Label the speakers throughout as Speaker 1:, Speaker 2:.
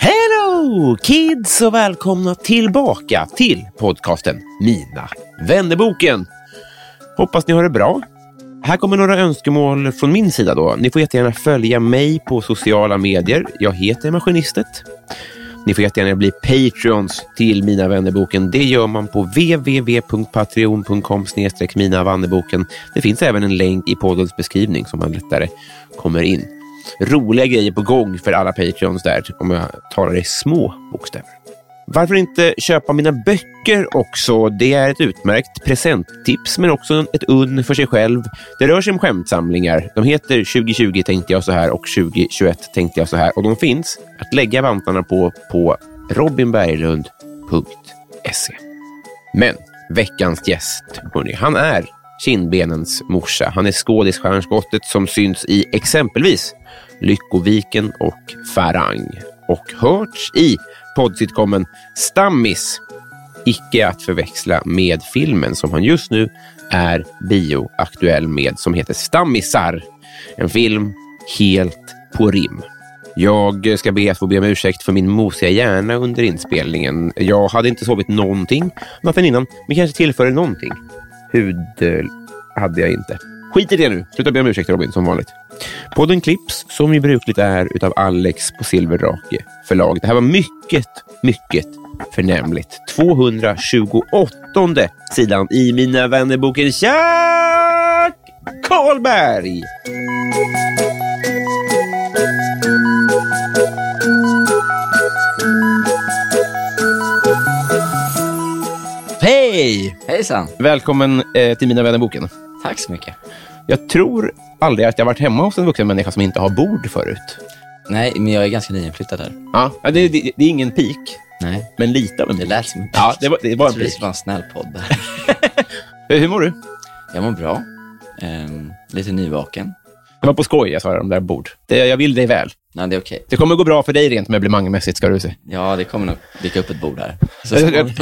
Speaker 1: Hello kids och välkomna tillbaka till podcasten Mina vännerboken. Hoppas ni har det bra. Här kommer några önskemål från min sida. då. Ni får jättegärna följa mig på sociala medier. Jag heter Maskinistet. Ni får jättegärna bli Patreons till Mina vännerboken. Det gör man på www.patreon.com Mina vännerboken. Det finns även en länk i poddens beskrivning som man lättare kommer in. Roliga grejer på gång för alla Patreons där, om jag talar i små bokstäver. Varför inte köpa mina böcker också? Det är ett utmärkt presenttips, men också ett unn för sig själv. Det rör sig om skämtsamlingar. De heter 2020 tänkte jag så här och 2021 tänkte jag så här. Och de finns att lägga vantarna på på robinberglund.se. Men veckans gäst, hörni, han är kindbenens morsa. Han är skådisstjärnskottet som syns i exempelvis Lyckoviken och Farang och hörts i poddsitcomen Stammis. Icke att förväxla med filmen som han just nu är bioaktuell med som heter Stammisar. En film helt på rim. Jag ska be att få be om ursäkt för min mosiga hjärna under inspelningen. Jag hade inte sovit någonting natten innan, men kanske tillförde någonting. Hud eh, hade jag inte. Skit i det nu. Sluta be om ursäkt Robin, som vanligt. Podden klipps, som ju brukligt är, utav Alex på Silverdrake förlag. Det här var mycket, mycket förnämligt. 228 sidan i Mina vännerboken. Jack Karlberg! Hej!
Speaker 2: Hejsan!
Speaker 1: Välkommen eh, till Mina vännerboken.
Speaker 2: Tack så mycket.
Speaker 1: Jag tror aldrig att jag varit hemma hos en vuxen människa som inte har bord förut.
Speaker 2: Nej, men jag är ganska nyinflyttad här.
Speaker 1: Ja, det, det, det är ingen pik,
Speaker 2: Nej,
Speaker 1: men lite av en
Speaker 2: det
Speaker 1: pik.
Speaker 2: lät som en
Speaker 1: Ja, det var, det var en
Speaker 2: Jag tror
Speaker 1: pik.
Speaker 2: det var en snäll podd. det här.
Speaker 1: Eh, Hur mår du?
Speaker 2: Jag mår bra. Ehm, lite nyvaken.
Speaker 1: Det var på skoj jag sa det om där bord. Det, jag vill dig väl.
Speaker 2: Nej, det är okej.
Speaker 1: Det kommer gå bra för dig rent möblemangmässigt, ska du se.
Speaker 2: Ja, det kommer nog dyka upp ett bord här. Så
Speaker 1: Jag- jag-
Speaker 2: småningom.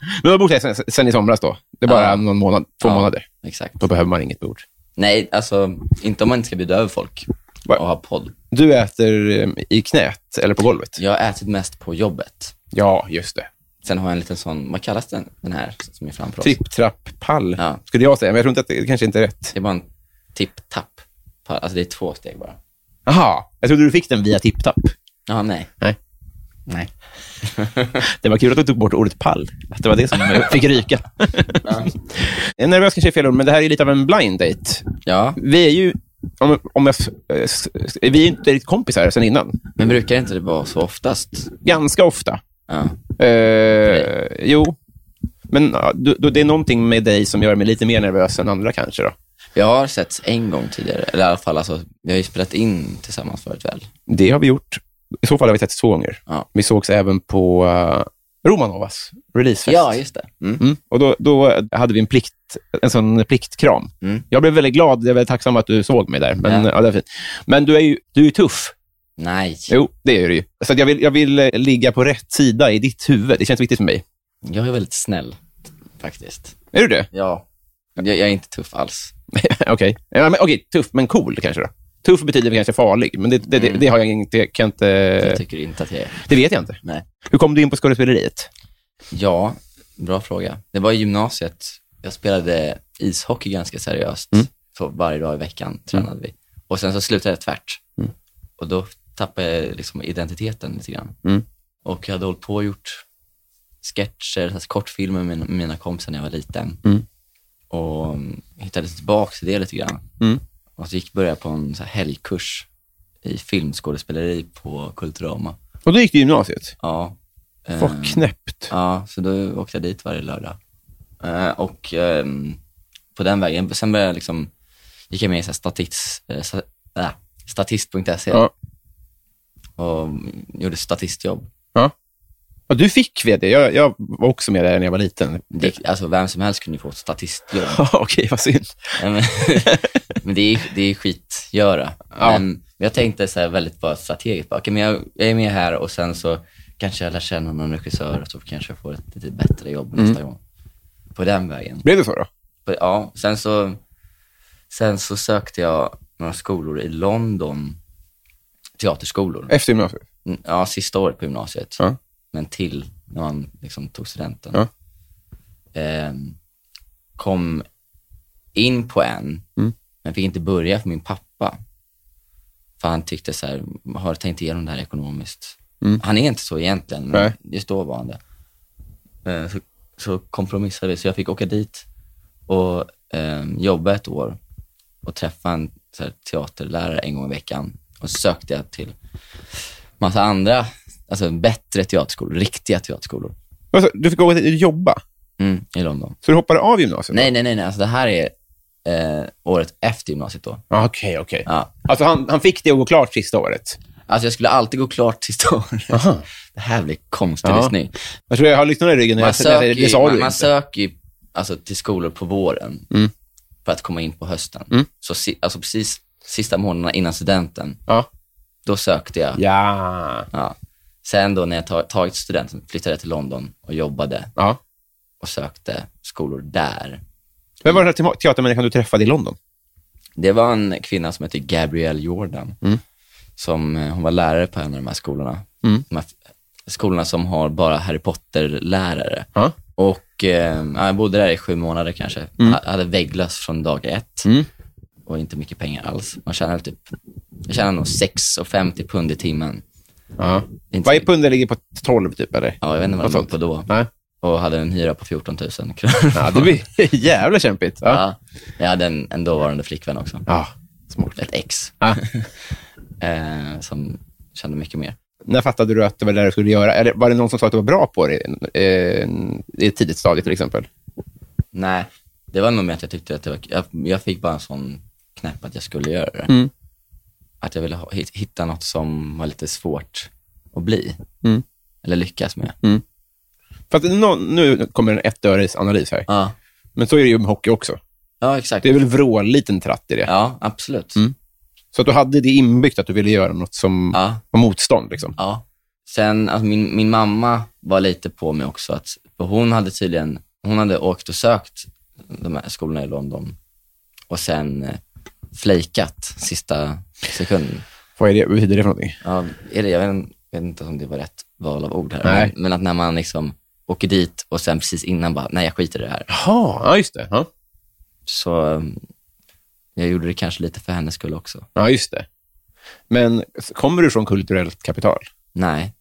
Speaker 1: Men du har bott här sen, sen i somras då. Det är bara
Speaker 2: Ja.
Speaker 1: någon månad, två
Speaker 2: Ja.
Speaker 1: månader.
Speaker 2: Exakt.
Speaker 1: Då behöver man inget bord.
Speaker 2: Nej, alltså inte om man inte ska bjuda över folk
Speaker 1: Va?
Speaker 2: och ha podd.
Speaker 1: Du äter eh, i knät eller på golvet?
Speaker 2: Jag har ätit mest på jobbet.
Speaker 1: Ja, just det.
Speaker 2: Sen har jag en liten sån, vad kallas den, den här som är framför oss?
Speaker 1: Tripp, trapp, pall,
Speaker 2: Ja.
Speaker 1: skulle jag säga. Men jag tror inte att det kanske inte är rätt.
Speaker 2: Det är bara en tipp-tapp. Alltså det är två steg bara.
Speaker 1: Aha, jag trodde du fick den via tipptapp.
Speaker 2: Ja, nej.
Speaker 1: Nej.
Speaker 2: Nej.
Speaker 1: Det var kul att du tog bort ordet pall. Att det var det som eh, fick ryka. jag är nervös kanske är fel ord, men det här är lite av en blind date.
Speaker 2: Ja,
Speaker 1: Vi är ju om, om jag, s- eh, s- vi är ju inte riktigt kompisar sen innan.
Speaker 2: men brukar inte det vara så oftast?
Speaker 1: Ganska ofta.
Speaker 2: Ja.
Speaker 1: Eh, jo, men ja, du, du, det är någonting med dig som gör mig lite mer nervös än andra kanske. Då.
Speaker 2: Jag har sett en gång tidigare, eller i alla fall, alltså, vi har ju spelat in tillsammans förut väl?
Speaker 1: Det har vi gjort. I så fall har vi sett två gånger.
Speaker 2: Ja.
Speaker 1: Vi sågs även på eh, Romanovas releasefest.
Speaker 2: Ja, just det. Mm.
Speaker 1: Mm. Och då, då hade vi en, plikt, en sån pliktkram.
Speaker 2: Mm.
Speaker 1: Jag blev väldigt glad. Jag är väldigt tacksam att du såg mig där. Men, ja.
Speaker 2: Ja.
Speaker 1: det är fint. men du är ju du är ju tuff.
Speaker 2: Nej.
Speaker 1: Jo, det är du ju. Så att jag, vill, jag vill eh, ligga på rätt sida i ditt huvud. Det känns viktigt för mig.
Speaker 2: Jag är väldigt snäll, faktiskt.
Speaker 1: Är du det?
Speaker 2: Ja. Jag, jag är inte tuff alls.
Speaker 1: Okej. Ja, men, okej, Tuff, men cool kanske då. Tuff betyder väl kanske farlig, men det, det,
Speaker 2: Mm.
Speaker 1: det, det har jag inte, kan inte...
Speaker 2: Jag tycker inte att jag är.
Speaker 1: Det vet jag inte.
Speaker 2: Eh. Nej.
Speaker 1: Hur kom du in på skådespeleriet?
Speaker 2: Ja, bra fråga. Det var i gymnasiet. Jag spelade ishockey ganska seriöst.
Speaker 1: Mm.
Speaker 2: Så varje dag i veckan tränade vi. Och sen så slutade jag tvärt.
Speaker 1: Mm.
Speaker 2: Och då tappade jag liksom identiteten lite grann.
Speaker 1: Mm.
Speaker 2: Och jag hade hållit på och gjort sketcher, alltså kortfilmer med mina- mina kompisar när jag var liten.
Speaker 1: Mm.
Speaker 2: Och mm, hittade tillbaka till det lite grann.
Speaker 1: Mm.
Speaker 2: Och så gick började jag på en så här helgkurs i filmskådespeleri på Kulturama.
Speaker 1: Och då gick du i gymnasiet.
Speaker 2: Ja.
Speaker 1: Vad knäppt.
Speaker 2: Eh, Ja, så då åkte jag dit varje lördag. Eh, och ehm, på den vägen, sen började jag liksom, gick jag med i så här statist, eh, sta- äh, statist.se
Speaker 1: Ja.
Speaker 2: och mm, gjorde statistjobb.
Speaker 1: Ja, du fick vd. Jag, jag var också med där när jag var liten.
Speaker 2: Det, alltså vem som helst kunde ju få ett statistjobb.
Speaker 1: Ja, Okej, vad synd.
Speaker 2: Nej, men men det är, det är skitgöra.
Speaker 1: Ja.
Speaker 2: Men, men jag tänkte så här väldigt bara strategiskt. bara, Okej, men jag, jag är med här och sen så kanske jag lär känna någon regissör och så kanske jag får ett lite bättre jobb
Speaker 1: Mm.
Speaker 2: nästa gång. På den vägen.
Speaker 1: Blev det så då?
Speaker 2: Ja, sen så, sen så sökte jag några skolor i London, teaterskolor.
Speaker 1: Efter gymnasiet?
Speaker 2: Mm, Ja, sista året på gymnasiet,
Speaker 1: Eh. Ja.
Speaker 2: men till när man liksom tog studenten.
Speaker 1: Ja.
Speaker 2: Ehm, kom in på en,
Speaker 1: Mm.
Speaker 2: men fick inte börja för min pappa. För han tyckte så här, har tänkt igenom det här ekonomiskt.
Speaker 1: Mm.
Speaker 2: Han är inte så egentligen, men
Speaker 1: Nej.
Speaker 2: just då var han det. Eh, så, så kompromissade vi, så jag fick åka dit och eh, jobba ett år och träffa en så här, teaterlärare en gång i veckan. Och så sökte jag till massa andra, alltså bättre teaterskolor, riktiga teaterskolor
Speaker 1: Alltså, du fick gå till jobba,
Speaker 2: mm, i London.
Speaker 1: så du hoppade av gymnasiet?
Speaker 2: Nej, nej, nej, nej. Alltså, det här är eh, året efter gymnasiet då.
Speaker 1: Ja, Okej, okej.
Speaker 2: Ja.
Speaker 1: Alltså, han, han fick det att gå klart sista året.
Speaker 2: Alltså jag skulle alltid gå klart till
Speaker 1: Aha.
Speaker 2: storyn. Det här blir konstig
Speaker 1: Ja.
Speaker 2: lyssning.
Speaker 1: Jag tror jag har lyssnat i ryggen när jag
Speaker 2: Man
Speaker 1: när jag
Speaker 2: söker
Speaker 1: säger
Speaker 2: ju,
Speaker 1: det sa
Speaker 2: man,
Speaker 1: du
Speaker 2: man
Speaker 1: inte. Mm.
Speaker 2: söker ju alltså, till skolor på våren för att komma in på hösten. Så si, alltså, precis sista månaderna innan studenten,
Speaker 1: Ja.
Speaker 2: då sökte jag.
Speaker 1: Ja.
Speaker 2: Ja. Sen då när jag ta, tagit studenten flyttade jag till London och jobbade
Speaker 1: ja.
Speaker 2: och sökte skolor där.
Speaker 1: Vem var den här te- teatermänniskan du träffade i London?
Speaker 2: Det var en kvinna som hette Gabrielle Jordan.
Speaker 1: Mm.
Speaker 2: Som, eh, hon var lärare på en av de här skolorna.
Speaker 1: Mm.
Speaker 2: De här f- skolorna som har bara Harry Potter-lärare.
Speaker 1: Ja.
Speaker 2: Och eh, ja, jag bodde där i sju månader kanske. Ha- Hade vägglöss från dag ett.
Speaker 1: Mm.
Speaker 2: Och inte mycket pengar alls. Man tjänade typ, jag tjänade nog 6,50 pund i timmen.
Speaker 1: Ja.
Speaker 2: Inte-
Speaker 1: Varje pund ligger på 12 typ, eller?
Speaker 2: Ja, jag vet inte vad
Speaker 1: Något
Speaker 2: det var
Speaker 1: sånt.
Speaker 2: på då.
Speaker 1: Nej.
Speaker 2: Och hade en hyra på 14 000 kronor.
Speaker 1: Ja, det blir jävla kämpigt. Ja.
Speaker 2: Ja. Jag hade en, en dåvarande flickvän också.
Speaker 1: ja.
Speaker 2: Smart. Ett ex.
Speaker 1: Ja.
Speaker 2: eh, som kände mycket mer.
Speaker 1: När fattade du att det var det du skulle göra? Eller var det någon som sa att du var bra på det eh, i ett tidigt stadie till exempel?
Speaker 2: Nej, det var nog med att jag tyckte att det var... Jag, jag fick bara en sån knäpp att jag skulle göra det.
Speaker 1: Mm.
Speaker 2: Att jag ville ha, hit- hitta något som var lite svårt att bli.
Speaker 1: Mm.
Speaker 2: Eller lyckas med.
Speaker 1: För att nå- nu kommer en ettöres analys här.
Speaker 2: Ja,
Speaker 1: Men så är det ju med hockey också.
Speaker 2: ja exakt.
Speaker 1: Det är väl vrålliten tratt i det.
Speaker 2: Ja, absolut.
Speaker 1: Mm. Så att du hade det inbyggt att du ville göra något som
Speaker 2: Ja,
Speaker 1: var motstånd. Liksom.
Speaker 2: ja. Sen, alltså min, min mamma var lite på mig också. Att, för hon hade tydligen... Hon hade åkt och sökt de här skolorna i London och sen eh, flejkat sista sekunden.
Speaker 1: Vad, är det, vad betyder det för någonting?
Speaker 2: Ja, är det, jag vet, vet inte om det var rätt val av ord här.
Speaker 1: Nej.
Speaker 2: Men, men att när man liksom åker dit och sen precis innan bara, nej jag skiter i det här.
Speaker 1: Jaha, ja just det. Ja,
Speaker 2: Så um, jag gjorde det kanske lite för hennes skull också.
Speaker 1: ja just det. Men kommer du från kulturellt kapital?
Speaker 2: Nej,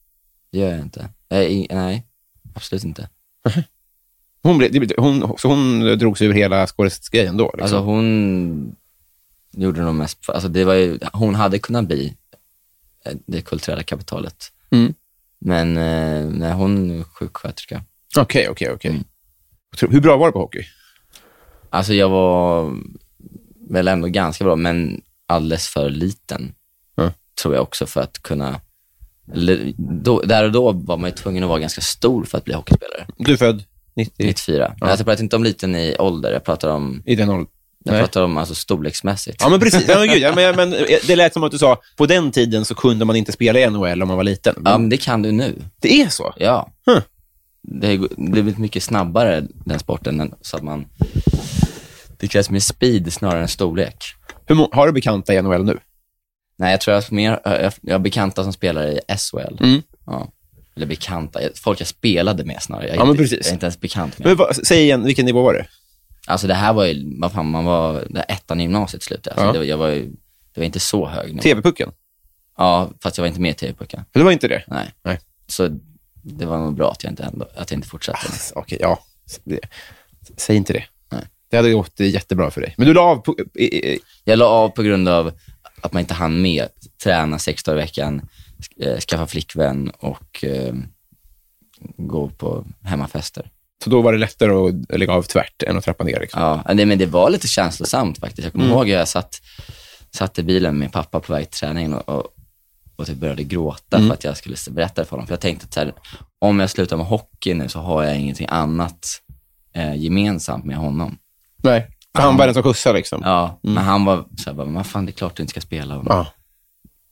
Speaker 2: det gör jag inte. Jag är ing- nej, absolut inte.
Speaker 1: Hon, blev, det blev- hon, så hon drog sig ur hela skådisgrejen då? Liksom.
Speaker 2: Alltså hon gjorde nog mest, alltså det var ju, hon hade kunnat bli eh, det kulturella kapitalet.
Speaker 1: Mm.
Speaker 2: Men eh, nej, hon är sjuksköterska.
Speaker 1: Okej, okej, okej.
Speaker 2: Mm.
Speaker 1: Hur bra var du på hockey?
Speaker 2: Alltså jag var väl ändå ganska bra, men alldeles för liten.
Speaker 1: Ja.
Speaker 2: Tror jag också för att kunna Eller, då, där och då var man ju tvungen att vara ganska stor för att bli hockeyspelare.
Speaker 1: Du är född 90?
Speaker 2: 94. Men alltså, jag pratar inte om liten i ålder, jag pratar om,
Speaker 1: I den åldern?
Speaker 2: jag
Speaker 1: Nej.
Speaker 2: pratar om alltså, storleksmässigt.
Speaker 1: Ja, men precis. Ja, men gud, ja, men, ja, men, eh, det lät som att du sa, på den tiden så kunde man inte spela i NHL om man var liten. Men
Speaker 2: Ja, men det kan du nu.
Speaker 1: Det är så?
Speaker 2: Ja.
Speaker 1: Huh.
Speaker 2: Det har ju gått- blivit mycket snabbare, den sporten, än- så att man... Det krävs mer speed snarare än storlek.
Speaker 1: Hur, må- har du bekanta i NHL nu?
Speaker 2: Nej, jag tror jag har mer, jag, jag har bekanta som spelar i SHL.
Speaker 1: Mm.
Speaker 2: Ja. Eller bekanta, jag- folk jag spelade med snarare. Jag är
Speaker 1: Ja, men
Speaker 2: inte-
Speaker 1: precis.
Speaker 2: Jag är inte ens bekant med.
Speaker 1: Men, vad- säg igen, vilken nivå var det?
Speaker 2: Alltså det här var ju, vad fan, man var det här ettan i gymnasiet slutade. Alltså,
Speaker 1: Ja.
Speaker 2: det, var- jag var ju, det var inte så hög nivå.
Speaker 1: TV-pucken?
Speaker 2: Ja, fast jag var inte med i TV-pucken.
Speaker 1: Det var inte det?
Speaker 2: Nej.
Speaker 1: Nej.
Speaker 2: Så det var nog bra att jag inte, ändå, att jag inte fortsatte.
Speaker 1: Okej, ja. Det, säg inte det.
Speaker 2: Nej.
Speaker 1: Det hade gått jättebra för dig. Men du la av... På, i, i, i-
Speaker 2: Jag la av på grund av att man inte hann med träna sex dagar i veckan, sk- eh, skaffa flickvän och eh, gå på hemmafester.
Speaker 1: så då var det lättare att lägga av tvärt än att trappa ner. Liksom.
Speaker 2: Ja, nej, men det var lite känslosamt faktiskt. Jag kommer ihåg att jag satt, satt i bilen med min pappa på väg till träningen och, och, och typ började gråta för att jag skulle berätta det för honom. För jag tänkte att så här, om jag slutar med hockey nu så har jag ingenting annat eh, gemensamt med honom.
Speaker 1: Nej. För han var den som skjutsade. Liksom.
Speaker 2: Ja, Men han var så här, bara, men vad fan det är klart du inte ska spela.
Speaker 1: Ja.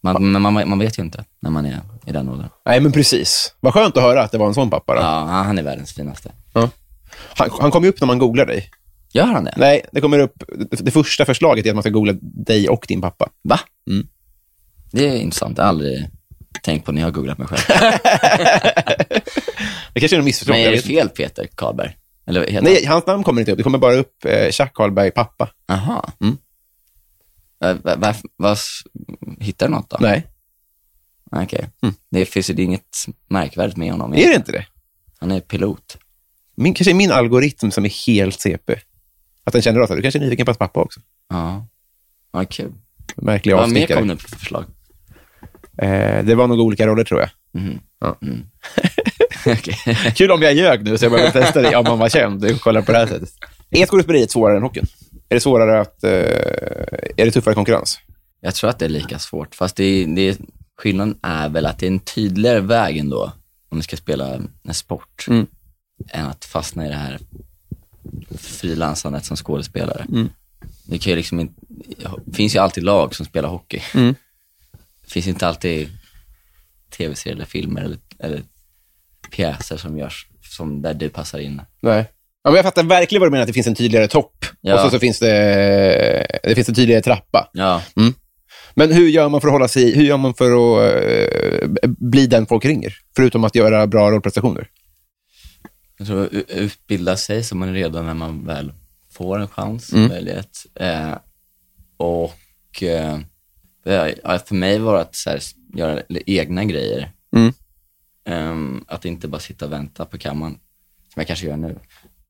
Speaker 2: Man, men man, man vet ju inte när man är i den åldern.
Speaker 1: Nej, men precis. Vad skönt att höra att det var en sån pappa. Då.
Speaker 2: Ja, han är världens finaste.
Speaker 1: Ja. Han, han kom ju upp när man googlar dig.
Speaker 2: Gör han det?
Speaker 1: Nej, det kommer upp... Det, det första förslaget är att man ska googla dig och din pappa.
Speaker 2: Va?
Speaker 1: Mm.
Speaker 2: Det är intressant. Jag har aldrig tänkt på när jag har googlat mig själv.
Speaker 1: Det kanske är en missförstånd.
Speaker 2: Men
Speaker 1: jag
Speaker 2: är det
Speaker 1: vet inte.
Speaker 2: fel Peter Karlberg? Eller heter
Speaker 1: Nej, hans namn kommer inte upp. Det kommer bara upp eh, Chuck Karlberg, pappa.
Speaker 2: han? Jaha.
Speaker 1: Mm.
Speaker 2: Eh, va- va- va- hittar du något då?
Speaker 1: Nej, Mm.
Speaker 2: Okej. Mm. Det finns ju inget märkvärdigt med honom.
Speaker 1: är det inte det?
Speaker 2: Han är pilot.
Speaker 1: Min, kanske är min algoritm som är helt CP. Att den känner att du kanske är nyfiken på hans pappa också.
Speaker 2: Ja. Vad kul.
Speaker 1: Märklig
Speaker 2: Vad mer kom
Speaker 1: avstickare.
Speaker 2: det för förslag?
Speaker 1: Eh, det var nog olika roller, tror jag.
Speaker 2: Mhm.
Speaker 1: Ja.
Speaker 2: Mm. Okej.
Speaker 1: Kul om jag ljög nu, så jag behöver testa det om man var känd och kolla på det här sättet. Är skådespeleriet svårare än hockeyn? Är det svårare att... Eh, är det tuffare konkurrens?
Speaker 2: Jag tror att det är lika svårt, fast det är, det är, skillnaden är väl att det är en tydligare väg ändå, om du ska spela en sport,
Speaker 1: Mm.
Speaker 2: än att fastna i det här frilansandet som skådespelare.
Speaker 1: Mm.
Speaker 2: Det, kan ju liksom inte, det finns ju alltid lag som spelar hockey.
Speaker 1: Mm.
Speaker 2: Det finns inte alltid tv-serier eller filmer eller, eller pjäser som görs, som där du passar in.
Speaker 1: Nej. Ja, men jag fattar verkligen vad du menar, att det finns en tydligare topp
Speaker 2: Ja.
Speaker 1: och så, så finns det, det finns en tydligare trappa.
Speaker 2: Ja,
Speaker 1: Men hur gör man för att hålla sig, hur gör man för att eh, bli den folk ringer? Förutom att göra bra rollprestationer.
Speaker 2: Jag tror att u- utbilda sig så man är redo när man väl får en chans,
Speaker 1: Mm.
Speaker 2: möjlighet. Eh, och eh, ja, för mig var det att så här, göra egna grejer.
Speaker 1: Mm.
Speaker 2: Ehm, att inte bara sitta och vänta på kammaren, som jag kanske gör nu.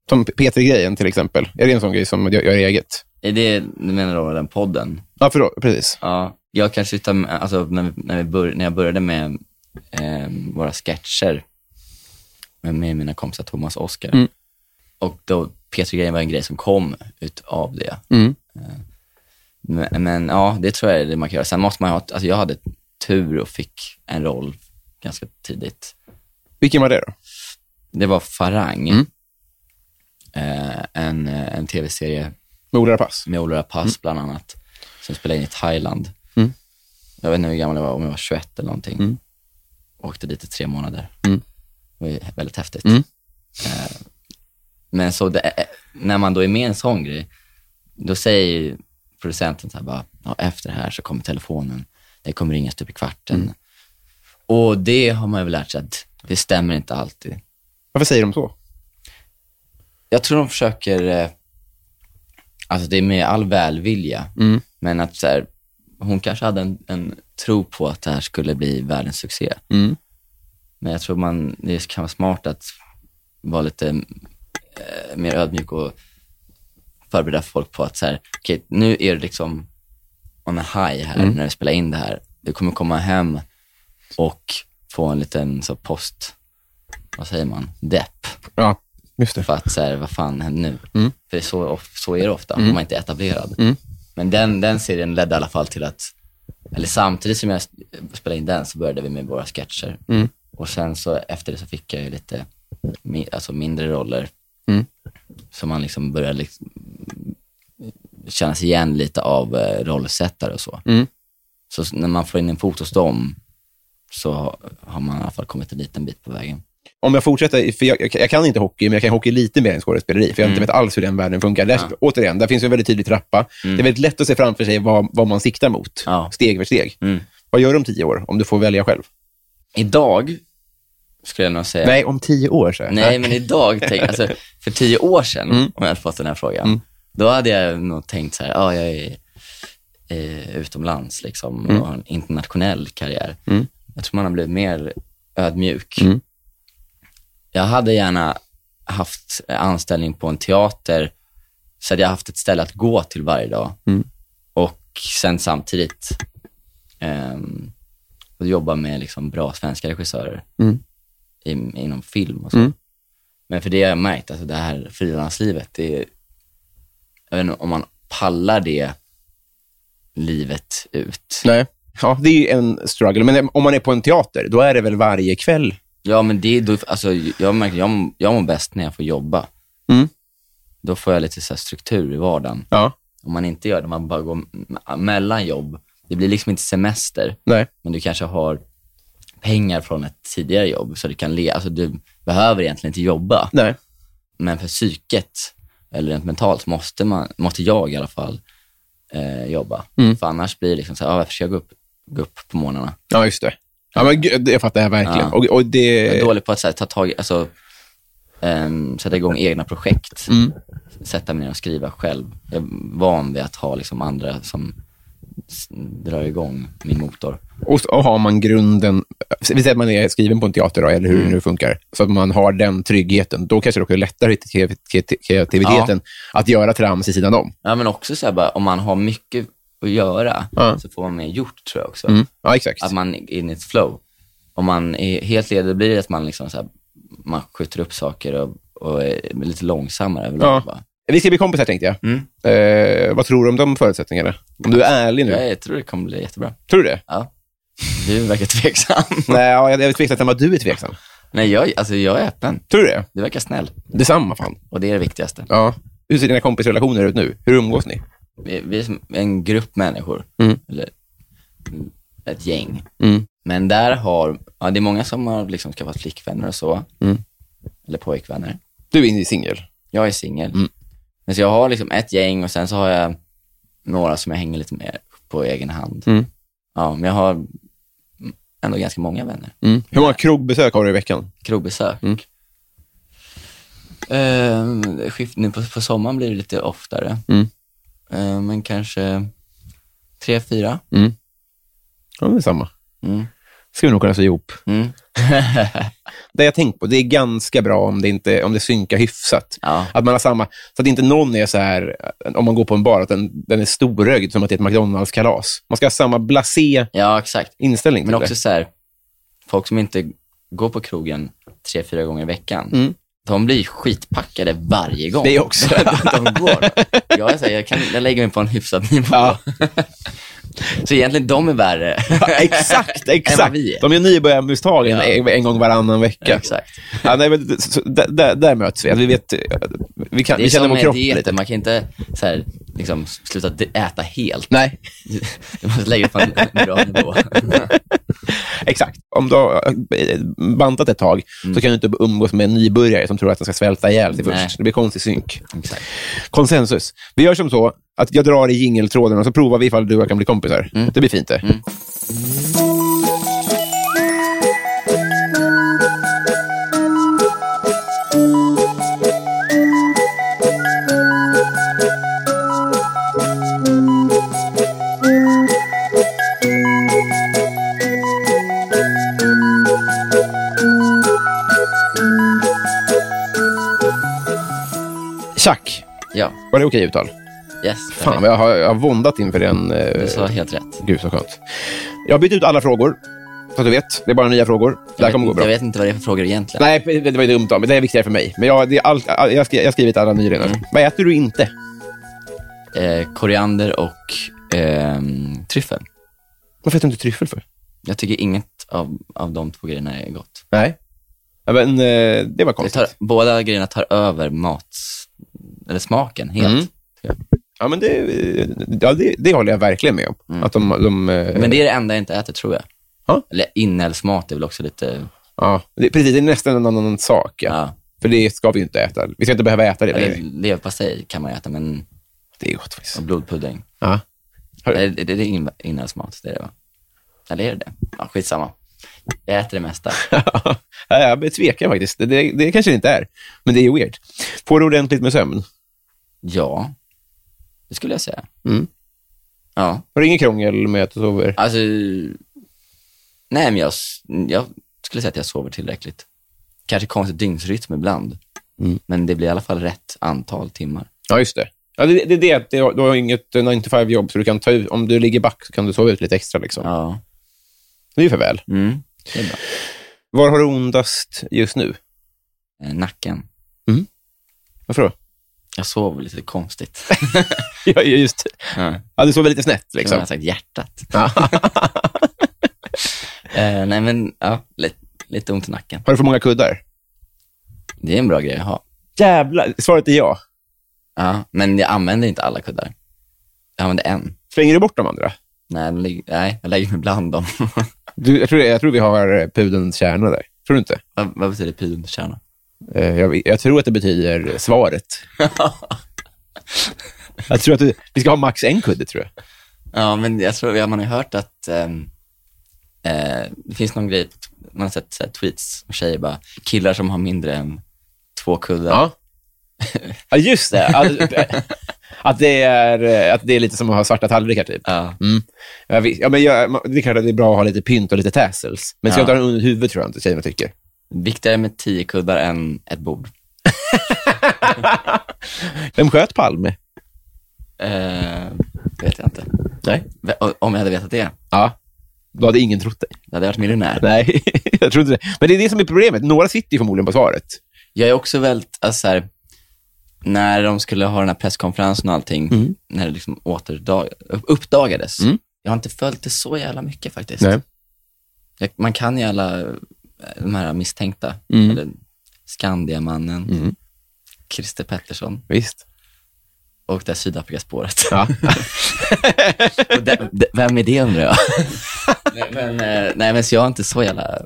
Speaker 1: Som P3-grejen till exempel. Är det en sån grej som jag gör eget?
Speaker 2: Är det, du menar då den podden?
Speaker 1: Ja, förlåt. Precis.
Speaker 2: Ja, jag kanske tar, med- alltså, när, vi- när, vi bör, när jag började med eh, våra sketcher med, med mina kompisar Thomas och Oscar.
Speaker 1: Mm.
Speaker 2: Och då, Peter Grejen var en grej som kom utav det. Eh,
Speaker 1: Mm.
Speaker 2: Men, men ja, det tror jag är det man kan göra. Sen måste man ju ha, alltså jag hade tur och fick en roll ganska tidigt.
Speaker 1: Vilken var det då?
Speaker 2: Det var Farang,
Speaker 1: Mm.
Speaker 2: eh, en, eh, en tv-serie
Speaker 1: Med Ola Rapace?
Speaker 2: med Ola Pass bland annat, som spelade in i Thailand.
Speaker 1: Mm.
Speaker 2: Jag vet inte hur gammal jag var, om jag var 21 eller någonting.
Speaker 1: Mm.
Speaker 2: Åkte dit i tre månader.
Speaker 1: Mm.
Speaker 2: Det var ju väldigt häftigt.
Speaker 1: Mm.
Speaker 2: Eh, men så det, eh, när man då är med i en sån grej, då säger ju producenten så här bara, ja, efter det här så kommer telefonen. Det kommer ringas typ i kvarten.
Speaker 1: Mm.
Speaker 2: Och det har man ju väl lärt sig att det stämmer inte alltid.
Speaker 1: Varför säger de så?
Speaker 2: Jag tror de försöker, eh, alltså det är med all välvilja,
Speaker 1: Mm.
Speaker 2: men att så här, hon kanske hade en, en tro på att det här skulle bli världens succé.
Speaker 1: Mm.
Speaker 2: Men jag tror man, det kan vara smart att vara lite eh, mer ödmjuk och förbereda folk på att så här, okej, nu är det liksom on a high här
Speaker 1: Mm.
Speaker 2: när du spelar in det här. Du kommer komma hem och få en liten så post, vad säger man, depp
Speaker 1: Ja, just det.
Speaker 2: för att så här, vad fan händer nu?
Speaker 1: Mm.
Speaker 2: För det är så, of- så är det ofta, om man inte är etablerad.
Speaker 1: Mm.
Speaker 2: Men den, den serien ledde i alla fall till att eller samtidigt som jag spelade in den så började vi med våra sketcher.
Speaker 1: Mm.
Speaker 2: Och sen så efter det så fick jag ju lite mi- alltså mindre roller
Speaker 1: Mm.
Speaker 2: som man liksom började liksom kännas igen lite av eh, rollsättare och så.
Speaker 1: Mm.
Speaker 2: Så s- när man får in en fot hos dem så ha- har man i alla fall kommit en liten bit på vägen.
Speaker 1: Om jag fortsätter, för jag, jag, jag kan inte hockey, men jag kan hockey lite mer än skådespeleri, för jag har inte vet alls hur den världen funkar. Där, Återigen, där finns ju en väldigt tydlig trappa. Det är väldigt lätt att se framför sig vad, vad man siktar mot,
Speaker 2: Ja.
Speaker 1: steg för steg.
Speaker 2: Mm.
Speaker 1: Vad gör du om tio år, om du får välja själv?
Speaker 2: Idag skulle jag nog säga
Speaker 1: Nej, om tio år, så.
Speaker 2: Nej, men idag, tänk, alltså, för tio år sedan, om jag hade fått den här frågan, då hade jag nog tänkt så här, ja, jag är eh, utomlands liksom, och har en internationell karriär. Jag tror man har blivit mer ödmjuk. Jag hade gärna haft anställning på en teater, så hade jag haft ett ställe att gå till varje dag. Och sen samtidigt ehm, och jobba med liksom, bra svenska regissörer i, inom film och så. Men för det har jag märkt, alltså det här frilanslivet, det är, jag vet inte om man pallar det livet ut.
Speaker 1: Nej. Ja, det är ju en struggle. Men om man är på en teater, då är det väl varje kväll?
Speaker 2: Ja, men det, är då, alltså, jag märker, jag, jag mår bäst när jag får jobba.
Speaker 1: Mm.
Speaker 2: Då får jag lite så här struktur i vardagen.
Speaker 1: Ja.
Speaker 2: Om man inte gör det, man bara går m- mellan jobb. Det blir liksom inte semester,
Speaker 1: Nej.
Speaker 2: men du kanske har pengar från ett tidigare jobb, så du kan le, alltså du behöver egentligen inte jobba.
Speaker 1: Nej.
Speaker 2: Men för psyket, eller rent mentalt, måste, man, måste jag i alla fall eh, jobba. För annars blir det liksom så här, ah, varför ska jag gå upp, gå upp på morgnarna?
Speaker 1: Ja, just det. Ja, men gud, jag fattar jag verkligen.
Speaker 2: Ja.
Speaker 1: Och, och
Speaker 2: Jag
Speaker 1: det...
Speaker 2: är dålig på att så här, ta tag i, alltså, ehm, sätta igång egna projekt. Sätta mig ner och skriva själv. Jag är van vid att ha liksom andra som s- drar igång min motor.
Speaker 1: Och, så- och har man grunden, vi säger att man är skriven på en teater, då, eller hur
Speaker 2: Mm.
Speaker 1: det nu funkar, så att man har den tryggheten, då kanske det också är lättare att hitta kreativ- kreativiteten att göra trams i sidan om.
Speaker 2: Ja, men också så här, bara, om man har mycket att göra
Speaker 1: Ja.
Speaker 2: så får man mer gjort tror jag också.
Speaker 1: Mm. Ja, exakt.
Speaker 2: att man är in i ett flow. Om man är helt ledig blir det att man, liksom så här, man skjuter upp saker och, och är lite långsammare överlag.
Speaker 1: Ja.
Speaker 2: Ja.
Speaker 1: Vi ska bli kompisar, tänkte jag.
Speaker 2: Mm.
Speaker 1: Eh, vad tror du om de förutsättningarna? Om du är ärlig nu.
Speaker 2: Jag tror det kommer bli jättebra.
Speaker 1: Tror du det?
Speaker 2: Ja. Du verkar tveksam.
Speaker 1: Nej, ja, jag är tveksam till vad du är tveksam.
Speaker 2: Nej, jag, alltså, jag är öppen.
Speaker 1: Tror du det?
Speaker 2: Du verkar snäll
Speaker 1: Detsamma, fan.
Speaker 2: och det är det viktigaste.
Speaker 1: Ja. Hur ser dina kompisrelationer ut nu? Hur umgås ni?
Speaker 2: Vi, vi är som en grupp människor,
Speaker 1: Mm.
Speaker 2: eller mm, ett gäng.
Speaker 1: Mm.
Speaker 2: Men där har, ja, det är många som har liksom skaffat flickvänner och så,
Speaker 1: Mm.
Speaker 2: eller pojkvänner.
Speaker 1: Du är singel.
Speaker 2: Jag är singel.
Speaker 1: Mm.
Speaker 2: Men så jag har liksom ett gäng och sen så har jag några som jag hänger lite med på egen hand.
Speaker 1: Mm.
Speaker 2: Ja, men jag har ändå ganska många vänner.
Speaker 1: Hur många krogbesök har du i veckan?
Speaker 2: Krogbesök.
Speaker 1: Mm.
Speaker 2: Ehm, skift, nu på, på sommaren blir det lite oftare.
Speaker 1: Mm.
Speaker 2: Ehm, men kanske tre, fyra.
Speaker 1: Ja, det är samma.
Speaker 2: Mm.
Speaker 1: Ska vi nog kunna sy ihop.
Speaker 2: Mm.
Speaker 1: Det jag tänkt på, det är ganska bra om det, inte, om det synkar hyfsat.
Speaker 2: Ja.
Speaker 1: Att man har samma, så att inte någon är så här, om man går på en bar, att den, den är storögd som att det är ett McDonalds-kalas. Man ska ha samma blasé
Speaker 2: ja, exakt.
Speaker 1: inställning till
Speaker 2: Men också
Speaker 1: Typ det.
Speaker 2: så här, folk som inte går på krogen tre, fyra gånger i veckan,
Speaker 1: Mm.
Speaker 2: de blir skitpackade varje gång.
Speaker 1: Det är också.
Speaker 2: de går. Jag, är så här, jag, kan, jag lägger mig på en hyfsad nivå.
Speaker 1: Ja.
Speaker 2: Så egentligen, de är värre.
Speaker 1: exakt,
Speaker 2: Än vad
Speaker 1: exakt.
Speaker 2: vi är.
Speaker 1: De är nybörjarmisstagen
Speaker 2: Ja.
Speaker 1: en, en gång varannan vecka.
Speaker 2: Exakt.
Speaker 1: Ja, nej, men, så- så, där, där, där möts vi. Att vi, vet, eh, vi, kan,
Speaker 2: Det är
Speaker 1: vi känner
Speaker 2: som
Speaker 1: vår
Speaker 2: med
Speaker 1: kropp
Speaker 2: dieter,
Speaker 1: lite.
Speaker 2: man kan inte så här, liksom, sluta d- äta helt.
Speaker 1: Nej,
Speaker 2: Du måste lägga dig på en bra nivå.
Speaker 1: exakt. Om du har eh, bantat ett tag så kan du inte umgås med en nybörjare som tror att den ska svälta ihjäl sig
Speaker 2: Nej.
Speaker 1: först. Det blir konstig synk.
Speaker 2: Exakt.
Speaker 1: Konsensus. Vi gör som så att jag drar i jingeltråden och så provar vi ifall du och jag kan bli kompisar. Det blir fint det. Tjack.
Speaker 2: Ja,
Speaker 1: Var det okej uttal?
Speaker 2: yes.
Speaker 1: Fan, jag har, jag har våndat inför den. eh,
Speaker 2: Du sa helt rätt.
Speaker 1: Gud, så skönt. Jag har bytt ut alla frågor, så att du vet. Det är bara nya frågor. Det här
Speaker 2: Jag
Speaker 1: kommer gå
Speaker 2: vet,
Speaker 1: bra.
Speaker 2: jag vet inte vad det är för frågor egentligen.
Speaker 1: Nej, det det var ju dumt av mig. Det är viktigare för mig. Men jag, det är allt, all, jag, har skri- jag har skrivit alla ny redan.
Speaker 2: Mm.
Speaker 1: Vad äter du inte?
Speaker 2: Eh, koriander och ehm, tryffel.
Speaker 1: Varför äter du inte tryffel för?
Speaker 2: Jag tycker inget av, av de två grejerna är gott.
Speaker 1: Nej. Ja, men eh, det var
Speaker 2: Det
Speaker 1: konstigt.
Speaker 2: tar, båda grejerna tar över mats, eller smaken helt.
Speaker 1: Mm. Ja, men det, ja, det, det håller jag verkligen med om. Att de, de, eh,
Speaker 2: Mm. Men det är det enda jag inte äter, tror jag.
Speaker 1: Ja.
Speaker 2: Eller inälvsmat är väl också lite...
Speaker 1: ja, det, precis, det är nästan en annan sak. Ja.
Speaker 2: Ja.
Speaker 1: För det ska vi ju inte äta. Vi ska inte behöva äta det
Speaker 2: Eller
Speaker 1: längre.
Speaker 2: leverpastej kan man äta, men
Speaker 1: Det är gott faktiskt.
Speaker 2: och blodpudding.
Speaker 1: Ja.
Speaker 2: Eller, det, det är in, inälvsmat, det är det va? Eller är det det? Ja, skitsamma. Jag äter det mesta.
Speaker 1: Ja, jag tvekar faktiskt. Det, det, det kanske det inte är, men det är weird. Får du ordentligt med sömn?
Speaker 2: Ja, det skulle jag säga.
Speaker 1: Mm.
Speaker 2: Ja,
Speaker 1: Har du inget krångel med att du sover?
Speaker 2: alltså... Nej, men jag, s- jag skulle säga att jag sover tillräckligt. Kanske konstig dygnsrytm ibland,
Speaker 1: Mm.
Speaker 2: men det blir i alla fall rätt antal timmar.
Speaker 1: Ja, just det. Ja, det, det, är det, att du har- du har inget 9-5-jobb, så du kan ta ut, om du ligger back så kan du sova ut lite extra. Liksom.
Speaker 2: Ja.
Speaker 1: Det är ju för väl.
Speaker 2: Mm. Det är bra.
Speaker 1: Var har du ondast just nu?
Speaker 2: Eh, Nacken.
Speaker 1: Varför då?
Speaker 2: Jag sover lite konstigt.
Speaker 1: Ja, just det.
Speaker 2: ja.
Speaker 1: Ja, du sover lite snett.
Speaker 2: Liksom. Jag har
Speaker 1: Liksom.
Speaker 2: sagt hjärtat. Eh, nej, men ja, lite, lite ont i nacken.
Speaker 1: Har du för många kuddar?
Speaker 2: Det är en bra grej att ha.
Speaker 1: Jävlar. Svaret är ja.
Speaker 2: Ja, men jag använder inte alla kuddar. Jag använder en.
Speaker 1: Slänger du bort de andra?
Speaker 2: Nej, jag lägger, nej, jag lägger mig bland dem.
Speaker 1: Du, jag, tror, jag tror vi har eh, pudelns kärna där. Tror du inte?
Speaker 2: vad, vad betyder pudelns kärna?
Speaker 1: Eh, Jag, jag tror att det betyder svaret. jag tror att du, vi ska ha max en kudde, tror jag.
Speaker 2: Ja, men jag tror, ja, man har ju hört att ehm, eh, det finns någon grej, man har sett så här, tweets och tjejer bara, killar som har mindre än två kuddar.
Speaker 1: Ja. Ja, just det. Att, att, det är, eh, att det är lite som att ha svarta tallrikar, typ.
Speaker 2: Ja.
Speaker 1: Mm. Ja, visst. ja, men jag, man- det är klart att det är bra att ha lite pynt och lite tassels. Men ska
Speaker 2: Ja.
Speaker 1: jag ta den under huvudet, tror jag inte tjejerna tycker.
Speaker 2: Viktigare med tio kuddar än ett bord.
Speaker 1: Vem sköt Palme?
Speaker 2: Eh, det vet jag inte.
Speaker 1: Nej.
Speaker 2: V- o- Om jag hade vetat det,
Speaker 1: Ja. Då hade ingen trott dig.
Speaker 2: då hade jag varit miljonär.
Speaker 1: Nej, jag tror inte det. Men det är det som är problemet. Några sitter ju förmodligen på svaret.
Speaker 2: Jag är också väldigt, alltså så här, när de skulle ha den här presskonferensen och allting, när det liksom återdag, upp- uppdagades.
Speaker 1: Mm.
Speaker 2: Jag har inte följt det så jävla mycket faktiskt.
Speaker 1: Nej.
Speaker 2: Jag, man kan ju alla eh, de här misstänkta.
Speaker 1: Mm.
Speaker 2: Eller Skandiamannen,
Speaker 1: Mm.
Speaker 2: Christer Pettersson
Speaker 1: Visst.
Speaker 2: och det här Sydafrikaspåret.
Speaker 1: Ja.
Speaker 2: Och det- det- Vem är det undrar jag? men, men, eh, nej, men så jag är inte så jävla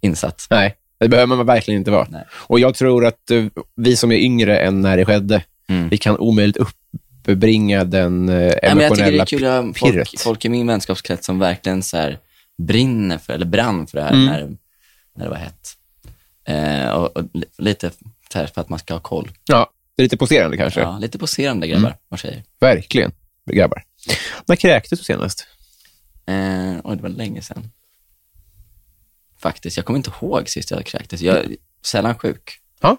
Speaker 2: insatt.
Speaker 1: Nej, det behöver man verkligen inte vara.
Speaker 2: Nej.
Speaker 1: Och jag tror att eh, vi som är yngre än när det skedde,
Speaker 2: Mm.
Speaker 1: vi kan omöjligt uppbringa den eh,
Speaker 2: Nej, men jag tycker det
Speaker 1: emotionella
Speaker 2: är kul att ha folk,
Speaker 1: pirret.
Speaker 2: folk i min vänskapskrets som verkligen så här brinner för, eller brann för det
Speaker 1: Mm.
Speaker 2: här när, när det var hett. Eh, och, och li- lite så här för att man ska ha koll.
Speaker 1: Ja, det är lite poserande kanske.
Speaker 2: Ja, lite poserande grabbar
Speaker 1: Mm.
Speaker 2: och tjejer.
Speaker 1: Verkligen, grabbar. När kräktes du senast?
Speaker 2: Eh, oj, det var länge sedan. Faktiskt, jag kommer inte ihåg sist jag kräktes. Jag är sällan sjuk.
Speaker 1: Ja,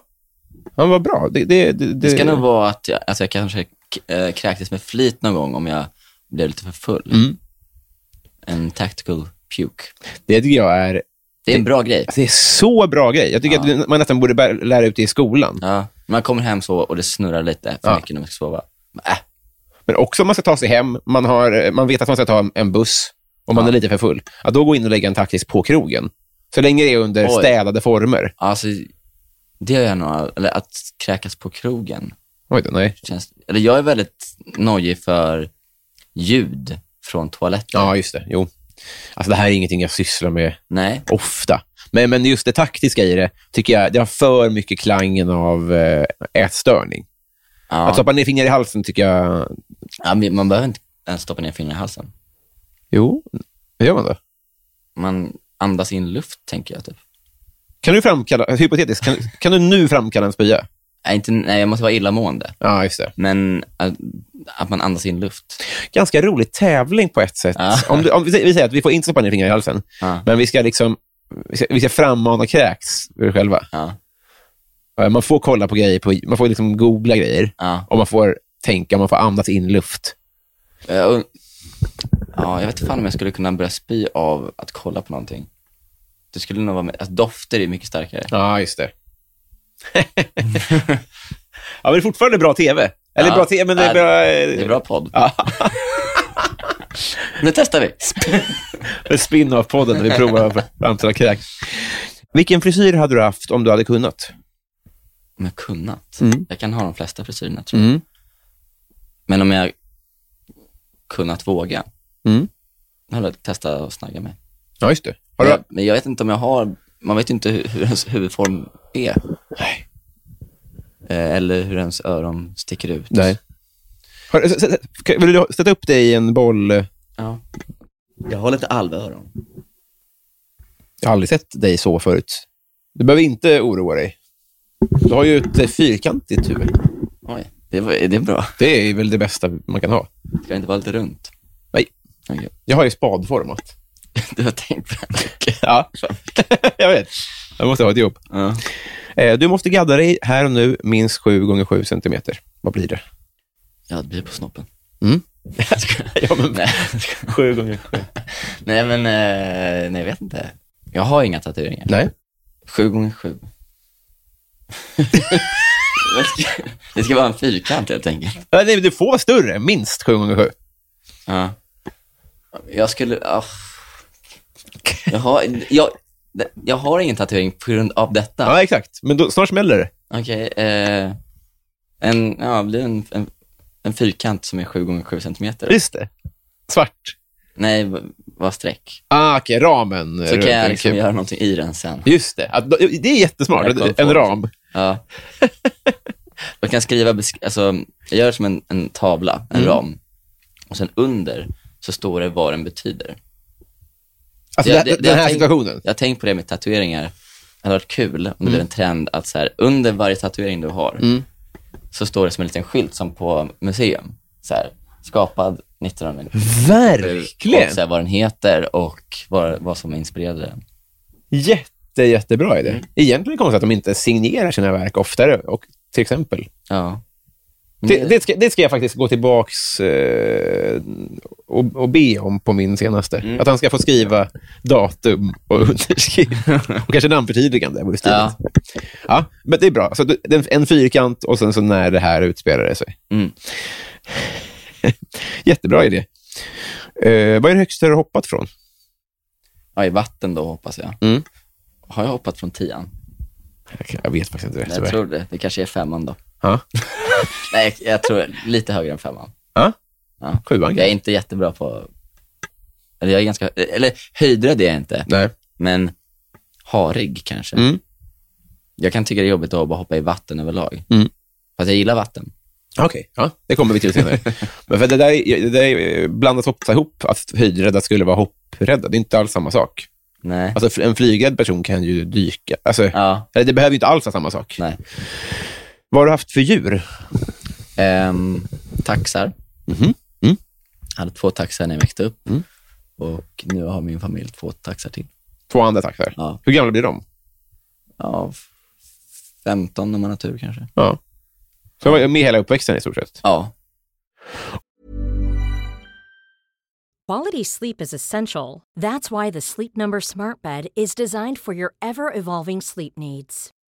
Speaker 1: ja vad bra. Det, det, det,
Speaker 2: Det ska nog vara att jag, alltså jag kanske k- eh, kräktes med flit någon gång om jag blev lite för full.
Speaker 1: Mm.
Speaker 2: En tactical puke.
Speaker 1: det tycker jag är,
Speaker 2: Det är en bra grej.
Speaker 1: alltså, det är så bra grej. Jag tycker
Speaker 2: Ja.
Speaker 1: att det- man nästan borde bä- lära ut det i skolan.
Speaker 2: Ja, man kommer hem så och det snurrar lite för
Speaker 1: Ja.
Speaker 2: mycket när man ska sova. Äh,
Speaker 1: Men också om man ska ta sig hem, man, har, man vet att man ska ta en buss om man
Speaker 2: Ja.
Speaker 1: är lite för full, att då gå in och lägga en taktisk på krogen. Så länge det är under
Speaker 2: Oj.
Speaker 1: städade former.
Speaker 2: alltså, det gör jag nog, eller att kräkas på krogen.
Speaker 1: Oj då, nej.
Speaker 2: Känns, eller jag är väldigt nojig för ljud från toaletten.
Speaker 1: Ja, just det. Jo. Alltså, det här är ingenting jag sysslar med
Speaker 2: Nej,
Speaker 1: ofta. Men, men just det taktiska i det, tycker jag, det har för mycket klangen av eh, ätstörning.
Speaker 2: ja.
Speaker 1: Att stoppa ner fingrar i halsen tycker jag...
Speaker 2: ja, men man behöver inte ens stoppa ner fingrar i halsen.
Speaker 1: Jo, hur gör man då?
Speaker 2: Man andas in luft, tänker jag. Typ.
Speaker 1: Kan du framkalla, hypotetiskt, kan, kan du nu framkalla en spya?
Speaker 2: Nej, Äh, inte, nej, jag måste vara illamående.
Speaker 1: Ja, just det.
Speaker 2: Men att, att man andas in luft.
Speaker 1: ganska rolig tävling på ett sätt.
Speaker 2: Ja.
Speaker 1: Om, du, om vi, vi säger att vi får inte stoppa ner fingrar i halsen,
Speaker 2: Ja.
Speaker 1: men vi ska liksom vi ska, vi ska frammana kräks ur själva.
Speaker 2: Ja.
Speaker 1: Eh, Man får kolla på grejer, på, man får liksom googla grejer
Speaker 2: Ja.
Speaker 1: och man får tänka, man får andas in luft.
Speaker 2: Eh, och- Ja, jag vet fan om jag skulle kunna börja spy av att kolla på någonting. Det skulle nog vara med, alltså, dofter är mycket starkare.
Speaker 1: Ja, just det. ja, men det är fortfarande bra tv. Eller
Speaker 2: Ja.
Speaker 1: bra tv, men det
Speaker 2: Ja,
Speaker 1: är bra...
Speaker 2: Det är bra podd.
Speaker 1: Ja.
Speaker 2: Nu testar vi.
Speaker 1: En eh, spin-off-podden där vi provar för- framtida kräk. Vilken frisyr hade du haft om du hade kunnat?
Speaker 2: Om jag kunnat.
Speaker 1: Mm.
Speaker 2: Jag kan ha de flesta frisyrerna tror jag. Men om jag kunnat våga,
Speaker 1: Mm.
Speaker 2: då hade jag testat att snagga mig.
Speaker 1: Ja, just det. Har
Speaker 2: Men
Speaker 1: du...
Speaker 2: jag, men jag vet inte om jag har, man vet ju inte hur, hur ens huvudform är.
Speaker 1: Nej.
Speaker 2: Eh, Eller hur ens öron sticker ut.
Speaker 1: Nej. Har... s- s- s- kan- Vill du sätta upp dig i en boll? Jag
Speaker 2: Ja. Jag har lite alvöron.
Speaker 1: har aldrig sett dig så förut. Du behöver inte oroa dig. Du har ju ett eh, fyrkantigt huvud.
Speaker 2: Oj, det, var, är det bra?
Speaker 1: Det är väl det bästa man kan ha.
Speaker 2: Ska det inte vara lite runt?
Speaker 1: Nej,
Speaker 2: Okej.
Speaker 1: jag har ju spadformat.
Speaker 2: Du har tänkt på det.
Speaker 1: Ja, jag vet. Jag måste ha ett jobb.
Speaker 2: Ja.
Speaker 1: Eh, Du måste gadda dig här och nu minst 7 gånger 7 centimeter. Vad blir det?
Speaker 2: ja, det blir på snoppen.
Speaker 1: Mm.
Speaker 2: Jag skojar.
Speaker 1: Ja, men-
Speaker 2: Nej, jag skojar.
Speaker 1: 7 gånger 7.
Speaker 2: nej, men eh, nej, jag vet inte. Jag har inga tatueringar.
Speaker 1: Nej. Eh,
Speaker 2: Sju gånger sju. det, ska, det ska vara en fyrkant helt enkelt.
Speaker 1: Nej, nej, du får vara större. Minst 7 gånger 7.
Speaker 2: Ja. Jag skulle... ah. Jag, har, jag, jag har ingen tatuering på grund av detta.
Speaker 1: Ja, exakt. Men då, snart smäller det.
Speaker 2: Okej, eh, en, ja, blir en, en, en fyrkant som är 7 gånger 7 centimeter.
Speaker 1: Just det. Svart.
Speaker 2: Nej, v- vad streck.
Speaker 1: Ah, okej. Ramen.
Speaker 2: Så
Speaker 1: runt
Speaker 2: kan jag
Speaker 1: omkring.
Speaker 2: liksom göra någonting i den sen.
Speaker 1: Just det. Att, det är jättesmart.
Speaker 2: Jag kom på
Speaker 1: En
Speaker 2: det.
Speaker 1: ram.
Speaker 2: Ja. Jag kan skriva, besk- alltså, jag gör som en, en tavla, en ram. Och sen under så står det vad den betyder.
Speaker 1: Alltså,
Speaker 2: Det-
Speaker 1: det,
Speaker 2: det- det
Speaker 1: den här
Speaker 2: jag tänk-
Speaker 1: situationen.
Speaker 2: Jag har tänkt på det med tatueringar. Det hade varit kul om det blev en trend att så här, under varje tatuering du har så står det som en liten skylt som på museum. Så här, skapad 1997. Och
Speaker 1: Verkligen.
Speaker 2: så här, vad den heter och vad, vad som inspirerade den.
Speaker 1: Jätte, jättebra idé. Egentligen konstigt att de inte signerar sina verk oftare. Och, till exempel.
Speaker 2: Ja.
Speaker 1: Det,
Speaker 2: Mm.
Speaker 1: det, ska, det ska jag faktiskt gå tillbaks eh, och, och be om på min senaste.
Speaker 2: Mm.
Speaker 1: Att han ska få skriva datum och underskrift. och kanske namnförtydligande. vore stiligt.
Speaker 2: Ja.
Speaker 1: Ja, men det är bra. Så du- det är en fyrkant och sen så när det här utspelade sig.
Speaker 2: Mm.
Speaker 1: Jättebra idé. Eh, vad är det högsta du har hoppat från?
Speaker 2: Ja, i vatten då hoppas jag.
Speaker 1: Mm.
Speaker 2: Har jag hoppat från tian?
Speaker 1: Jag vet faktiskt inte. Det,
Speaker 2: Nej,
Speaker 1: tyvärr.
Speaker 2: jag tror det. Det kanske är femman då.
Speaker 1: Ja.
Speaker 2: Nej, jag, jag tror lite högre än femman.
Speaker 1: Ja?
Speaker 2: Ja.
Speaker 1: Sjuan
Speaker 2: Jag är
Speaker 1: kanske?
Speaker 2: inte jättebra på... Eller jag är ganska... Eller höjdrädd är jag inte,
Speaker 1: Nej.
Speaker 2: men harig kanske.
Speaker 1: Mm.
Speaker 2: Jag kan tycka det är jobbigt att bara hoppa i vatten överlag.
Speaker 1: Mm.
Speaker 2: Fast jag gillar vatten.
Speaker 1: Okej, ja, det kommer vi till senare. Men för det där, är- det där är- blandas ofta ihop att höjdrädda skulle vara hopprädda. Det är inte alls samma sak.
Speaker 2: Nej.
Speaker 1: Alltså, en flygrädd person kan ju dyka. Alltså,
Speaker 2: Ja.
Speaker 1: eller Det behöver ju inte alls vara samma sak.
Speaker 2: Nej.
Speaker 1: Vad har du haft för djur?
Speaker 2: Ehm, taxar.
Speaker 1: Mhm. Mm.
Speaker 2: Jag hade två taxar när jag växte upp.
Speaker 1: Mm.
Speaker 2: Och nu har min familj två taxar till.
Speaker 1: Två andra taxar.
Speaker 2: Ja.
Speaker 1: Hur gamla blir de?
Speaker 2: Ja, f- 15 om man har tur kanske.
Speaker 1: Ja. Så jag var med hela uppväxten i stort sett.
Speaker 2: Ja.
Speaker 3: Quality sleep is essential. That's why the Sleep Number Smart Bed is designed for your ever evolving sleep needs.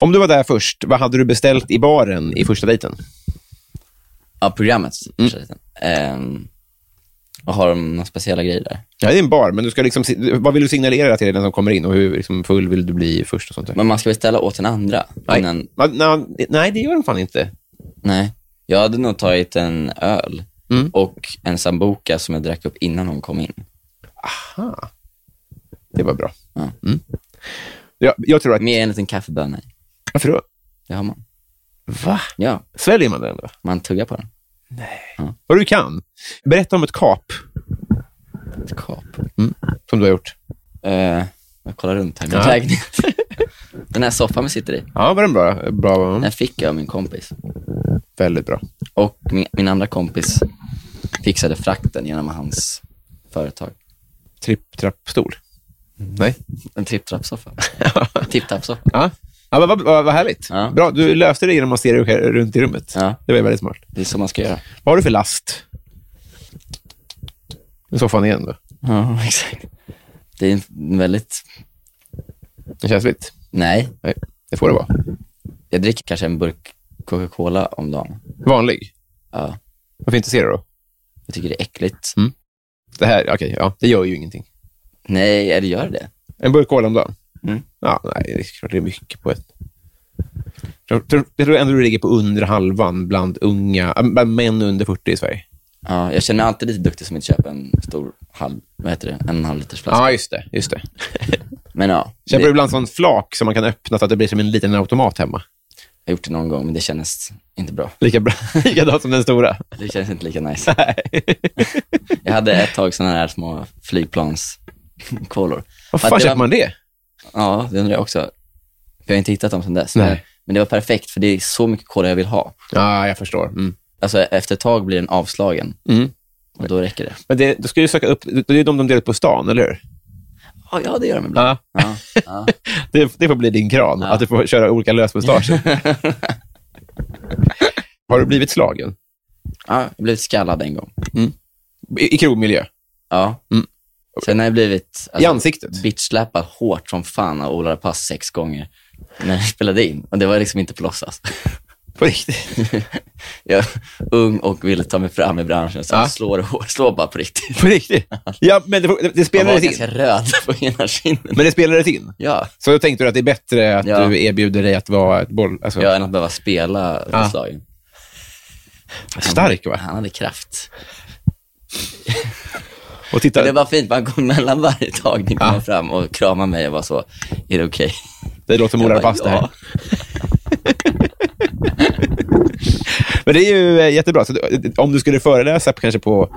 Speaker 1: Om du var där först, vad hade du beställt i baren i första dejten?
Speaker 2: Ja, programmet.
Speaker 1: Mm.
Speaker 2: Ehm, och har de några speciella grejer där?
Speaker 1: Ja, det är en bar, men du ska liksom, vad vill du signalera till den som kommer in och hur liksom, full vill du bli först? och sånt där?
Speaker 2: Men man ska beställa åt den andra
Speaker 1: Nej.
Speaker 2: innan...
Speaker 1: Ja, nej, nej, det gör de fan inte.
Speaker 2: Nej. Jag hade nog tagit en öl
Speaker 1: Mm.
Speaker 2: och en sambuca som jag drack upp innan hon kom in.
Speaker 1: Aha. Det var bra.
Speaker 2: Ja.
Speaker 1: Mm. Ja, jag tror att...
Speaker 2: Med en liten kaffebönna i.
Speaker 1: Varför då?
Speaker 2: Det har man.
Speaker 1: Va?
Speaker 2: Ja,
Speaker 1: Sväljer man den då?
Speaker 2: man tuggar på den.
Speaker 1: Vad du kan. Berätta om ett kap
Speaker 2: Ett kap.
Speaker 1: som du har gjort.
Speaker 2: Eh, jag kollar runt här. i Min
Speaker 1: Ja.
Speaker 2: lägenhet. den här soffan vi sitter i,
Speaker 1: Ja, var den bra? bra
Speaker 2: den fick jag av min kompis.
Speaker 1: Väldigt bra.
Speaker 2: Och min, min andra kompis fixade frakten genom hans företag.
Speaker 1: Tripp, trapp, stol.
Speaker 2: Mm.
Speaker 1: Nej.
Speaker 2: En tripp-trapp-soffa. Tipp-tapp-soffa.
Speaker 1: Ja. Ja, vad, vad, vad vad härligt.
Speaker 2: Ja.
Speaker 1: Bra, du löste det genom att se dig själv runt i rummet.
Speaker 2: Ja.
Speaker 1: Det var ju väldigt smart.
Speaker 2: Det är så man ska göra.
Speaker 1: Vad har du för last? I soffan igen då.
Speaker 2: Ja, exakt. Det är en väldigt...
Speaker 1: Det känns lite.
Speaker 2: Nej,
Speaker 1: Nej, det får det vara.
Speaker 2: jag dricker kanske en burk Coca-Cola om dagen.
Speaker 1: Vanlig.
Speaker 2: Ja,
Speaker 1: Varför inte se det då?
Speaker 2: jag tycker det är äckligt.
Speaker 1: Det här, okej, ja, det gör ju ingenting.
Speaker 2: Nej, är det gör det?
Speaker 1: En burk cola om dagen?
Speaker 2: Mm.
Speaker 1: Ja, nej, det är klart det är mycket på ett... Jag tror, jag tror ändå du ligger på under halvan bland unga, äh, bland män under 40 i Sverige.
Speaker 2: Ja, jag känner mig alltid lite duktig som inte köper en stor halv, vad heter det, en och en halv liters flaska.
Speaker 1: Ja, just det. Just det.
Speaker 2: Men ja, det,
Speaker 1: Köper du
Speaker 2: jag
Speaker 1: ibland sån flak som man kan öppna så att det blir som en liten automat hemma?
Speaker 2: har gjort det någon gång, men det kändes inte bra.
Speaker 1: Lika bra, likadant som den stora?
Speaker 2: Det kändes inte lika nice. jag hade ett tag sådana här små flygplanskolor.
Speaker 1: Var
Speaker 2: För att
Speaker 1: fan
Speaker 2: det
Speaker 1: köper
Speaker 2: var-
Speaker 1: man det?
Speaker 2: Ja, det undrar jag också. För jag har inte hittat dem sedan dess. Men,
Speaker 1: Nej.
Speaker 2: men det var perfekt, för det är så mycket cola jag vill ha.
Speaker 1: Ja, jag förstår. Mm.
Speaker 2: Alltså efter ett tag blir den avslagen
Speaker 1: Mm.
Speaker 2: och då räcker det.
Speaker 1: Men det, då ska du söka upp, det är de de delar ut på stan, eller hur?
Speaker 2: Ja, ja det gör de ibland.
Speaker 1: Ja.
Speaker 2: Ja, ja.
Speaker 1: Det, det får bli din kran, att du får köra olika lösmustascher. Har du blivit slagen?
Speaker 2: ja, jag blev skallad en gång.
Speaker 1: I, i krogmiljö?
Speaker 2: Ja.
Speaker 1: Mm.
Speaker 2: Sen har jag blivit
Speaker 1: I
Speaker 2: alltså,
Speaker 1: ansiktet?
Speaker 2: bitchlappad hårt som fan av Ola Rapace sex gånger när jag spelade in. Och det var liksom inte på låtsas.
Speaker 1: På riktigt?
Speaker 2: jag var ung och ville ta mig fram i branschen, så
Speaker 1: Ja.
Speaker 2: jag slår, hårt, slår bara på riktigt.
Speaker 1: På riktigt? Ja, men det, det- det
Speaker 2: Jag var
Speaker 1: spelades in.
Speaker 2: ganska röd på ena kinden.
Speaker 1: Men det spelades in.
Speaker 2: Ja,
Speaker 1: Så då tänkte du att det är bättre att
Speaker 2: Ja.
Speaker 1: du erbjuder dig att vara ett boll... Alltså,
Speaker 2: ja, än att behöva spela
Speaker 1: Ja.
Speaker 2: på slagen.
Speaker 1: Stark, va?
Speaker 2: Han hade kraft.
Speaker 1: Och titta,
Speaker 2: Men det var fint, man kom mellan varje tagning, kom han fram och kramade mig och var så, är det okej?
Speaker 1: det låter som
Speaker 2: Jag
Speaker 1: Ola
Speaker 2: bara,
Speaker 1: Rapace det här.
Speaker 2: "Ja."
Speaker 1: Men det är ju eh, jättebra. Så du- om du skulle föreläsa på- kanske på,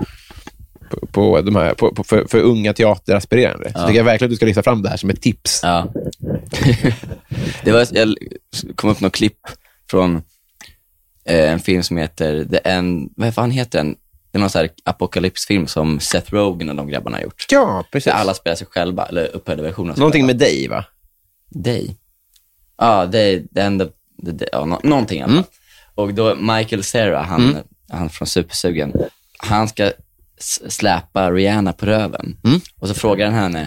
Speaker 1: på, på de här, på, på, för, för unga teateraspirerande, så tycker jag verkligen att du ska lyfta fram det här som ett tips.
Speaker 2: Ja. det var, jag kom upp något klipp från eh, en film som heter The End, vad fan heter den? Det är någon sån här apokalypsfilm som Seth Rogen och de grabbarna har gjort.
Speaker 1: Ja, precis.
Speaker 2: Där alla spelar sig själva, eller upphöjda versioner av sig
Speaker 1: Någonting
Speaker 2: själva.
Speaker 1: med dig, va?
Speaker 2: Dig. Ja, Day, The End of the Day, ja, nå- någonting i alla fall. Och då Michael Cera, han, han från Supersugen, han ska s- släpa Rihanna på röven. Och så frågar han henne,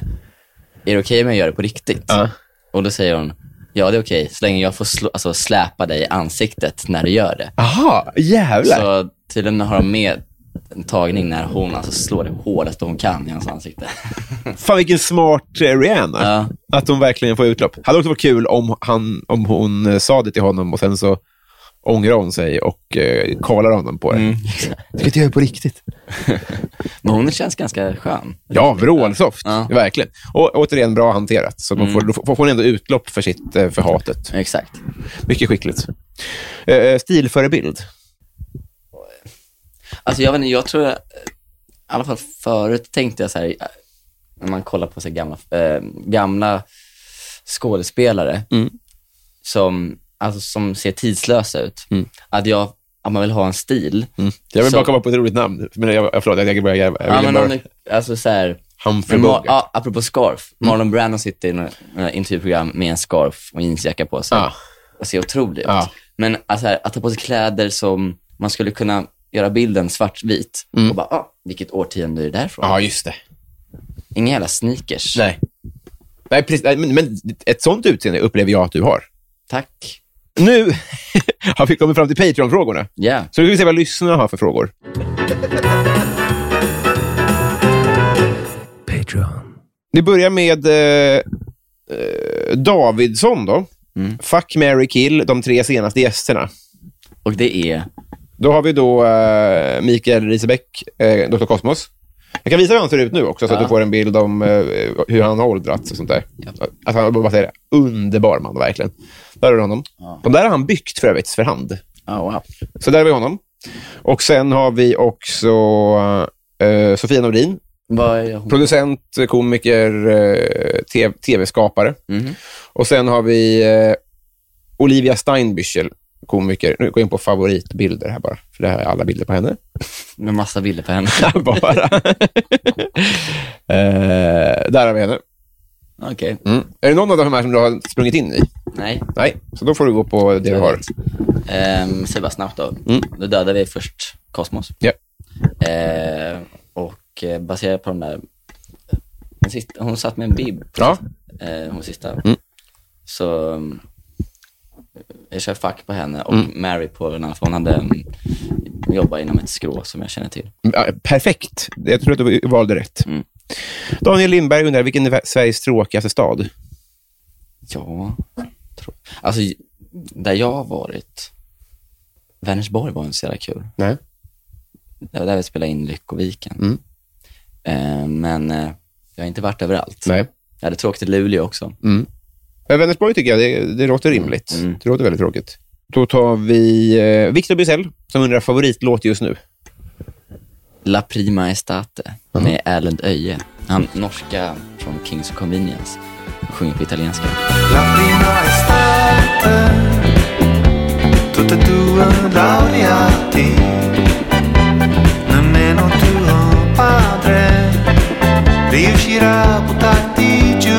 Speaker 2: är det okej om jag gör det på riktigt?
Speaker 1: Ja.
Speaker 2: Och då säger hon, ja det är okej, så länge jag får slå, alltså, släpa dig i ansiktet när du gör det.
Speaker 1: Aha, jävlar.
Speaker 2: Så tydligen har de med en tagning när hon alltså, slår det hårdaste hon kan i hans ansikte.
Speaker 1: Fan vilken smart eh, Rihanna.
Speaker 2: Ja.
Speaker 1: Att hon verkligen får utlopp. Hade också varit kul om, han, om hon eh, sa det till honom och sen så ångrar hon sig och eh, kollar honom på det.
Speaker 2: Mm.
Speaker 1: Du ska inte göra det på riktigt.
Speaker 2: Men hon känns ganska skön.
Speaker 1: Ja, vrålsoft.
Speaker 2: Ja. Mm.
Speaker 1: Verkligen. Och återigen, bra hanterat. Så man får, då får hon ändå utlopp för, sitt, eh, för hatet.
Speaker 2: Exakt.
Speaker 1: Mycket skickligt. Eh, Stilförebild.
Speaker 2: Alltså jag vet inte, jag tror, jag- i alla fall förut tänkte jag så här, eh, när man kollar på så här gamla, eh, gamla skådespelare
Speaker 1: Mm.
Speaker 2: som, alltså, som ser tidslösa ut,
Speaker 1: Mm.
Speaker 2: att, jag, att man vill ha en stil.
Speaker 1: Jag vill
Speaker 2: Så-
Speaker 1: bara komma på ett roligt namn. Men jag, jag, förlåt, jag börjar garva. Mm. Jag
Speaker 2: Ja,
Speaker 1: ville
Speaker 2: men
Speaker 1: bara...
Speaker 2: om du, alltså så här,
Speaker 1: Humphrey
Speaker 2: men Mar-
Speaker 1: Bogart.
Speaker 2: ja, apropå scarf,
Speaker 1: Mm.
Speaker 2: Marlon Brando sitter i något eh, intervjuprogram med en scarf och jeansjacka på sig
Speaker 1: Ja.
Speaker 2: och ser otrolig ut.
Speaker 1: Ja.
Speaker 2: Men alltså här, att ta på sig kläder som man skulle kunna göra bilden svartvit och bara, ah, vilket årtionde är det därifrån?
Speaker 1: Mm. Ja, just det.
Speaker 2: Inga jävla sneakers.
Speaker 1: Nej. Nej, precis, nej men, men ett sånt utseende upplever jag att du har.
Speaker 2: Tack.
Speaker 1: Nu har vi kommit fram till Patreon-frågorna.
Speaker 2: Ja.
Speaker 1: Så nu ska vi se vad lyssnarna har för frågor. Vi börjar med eh, eh, Davidsson. då. Fuck, Mary kill de tre senaste gästerna.
Speaker 2: Och det är
Speaker 1: Då har vi då eh, Mikael Risebeck, eh, Dr. Kosmos. Jag kan visa hur han ser ut nu också, så att du får en bild om eh, hur han har åldrats och sånt där. Att han, vad säger jag, underbar man, verkligen. Där har du honom. De där har han byggt för övrigt för hand.
Speaker 2: Ja, Ah, wow.
Speaker 1: Så där har vi honom. Och sen har vi också eh, Sofia Nordin,
Speaker 2: Vad är hon?
Speaker 1: producent, komiker, eh, te- tv-skapare.
Speaker 2: Mhm.
Speaker 1: Och sen har vi eh, Olivia Steinbüchel, komiker. Nu går jag in på favoritbilder här bara, för det här är alla bilder på henne.
Speaker 2: Med massa bilder på henne.
Speaker 1: bara. eh, där har vi henne.
Speaker 2: Okej.
Speaker 1: Mm. Är det någon av de här som du har sprungit in i?
Speaker 2: Nej.
Speaker 1: Nej, så då får du gå på det du Mm. har.
Speaker 2: Ehm, Säg bara snabbt då. Då dödade vi först Kosmos.
Speaker 1: Ja.
Speaker 2: Eh, och eh, baserat på de där... Hon, sitt, hon satt med en bib,
Speaker 1: Ja.
Speaker 2: eh, hon sista. Så mm, jag kör fuck på henne och Mary på den andra, för hon hade mm, jobbat inom ett skrå som jag känner till.
Speaker 1: Ja, Perfekt. Jag tror att du valde rätt.
Speaker 2: Mm.
Speaker 1: Daniel Lindberg undrar, vilken är Sveriges tråkigaste stad?
Speaker 2: Ja, tror. Alltså, där jag har varit, Vänersborg var inte så jävla kul.
Speaker 1: Nej.
Speaker 2: Det var där vi spelade in Lyckoviken. Eh, men eh, jag har inte varit överallt.
Speaker 1: Nej.
Speaker 2: Jag hade tråkigt i Luleå också.
Speaker 1: Men Eh, Vänersborg tycker jag, det, det låter rimligt.
Speaker 2: Mm.
Speaker 1: Det låter väldigt tråkigt. Då tar vi eh, Victor Bysell, som undrar favoritlåt just nu.
Speaker 2: La Prima Estate med Erlend Öje. Han norska från Kings of Convenience. Han Sjunger på italienska.
Speaker 4: La prima estate, tutte e due laureati, nemmeno tuo padre riuscirà a buttarti giù.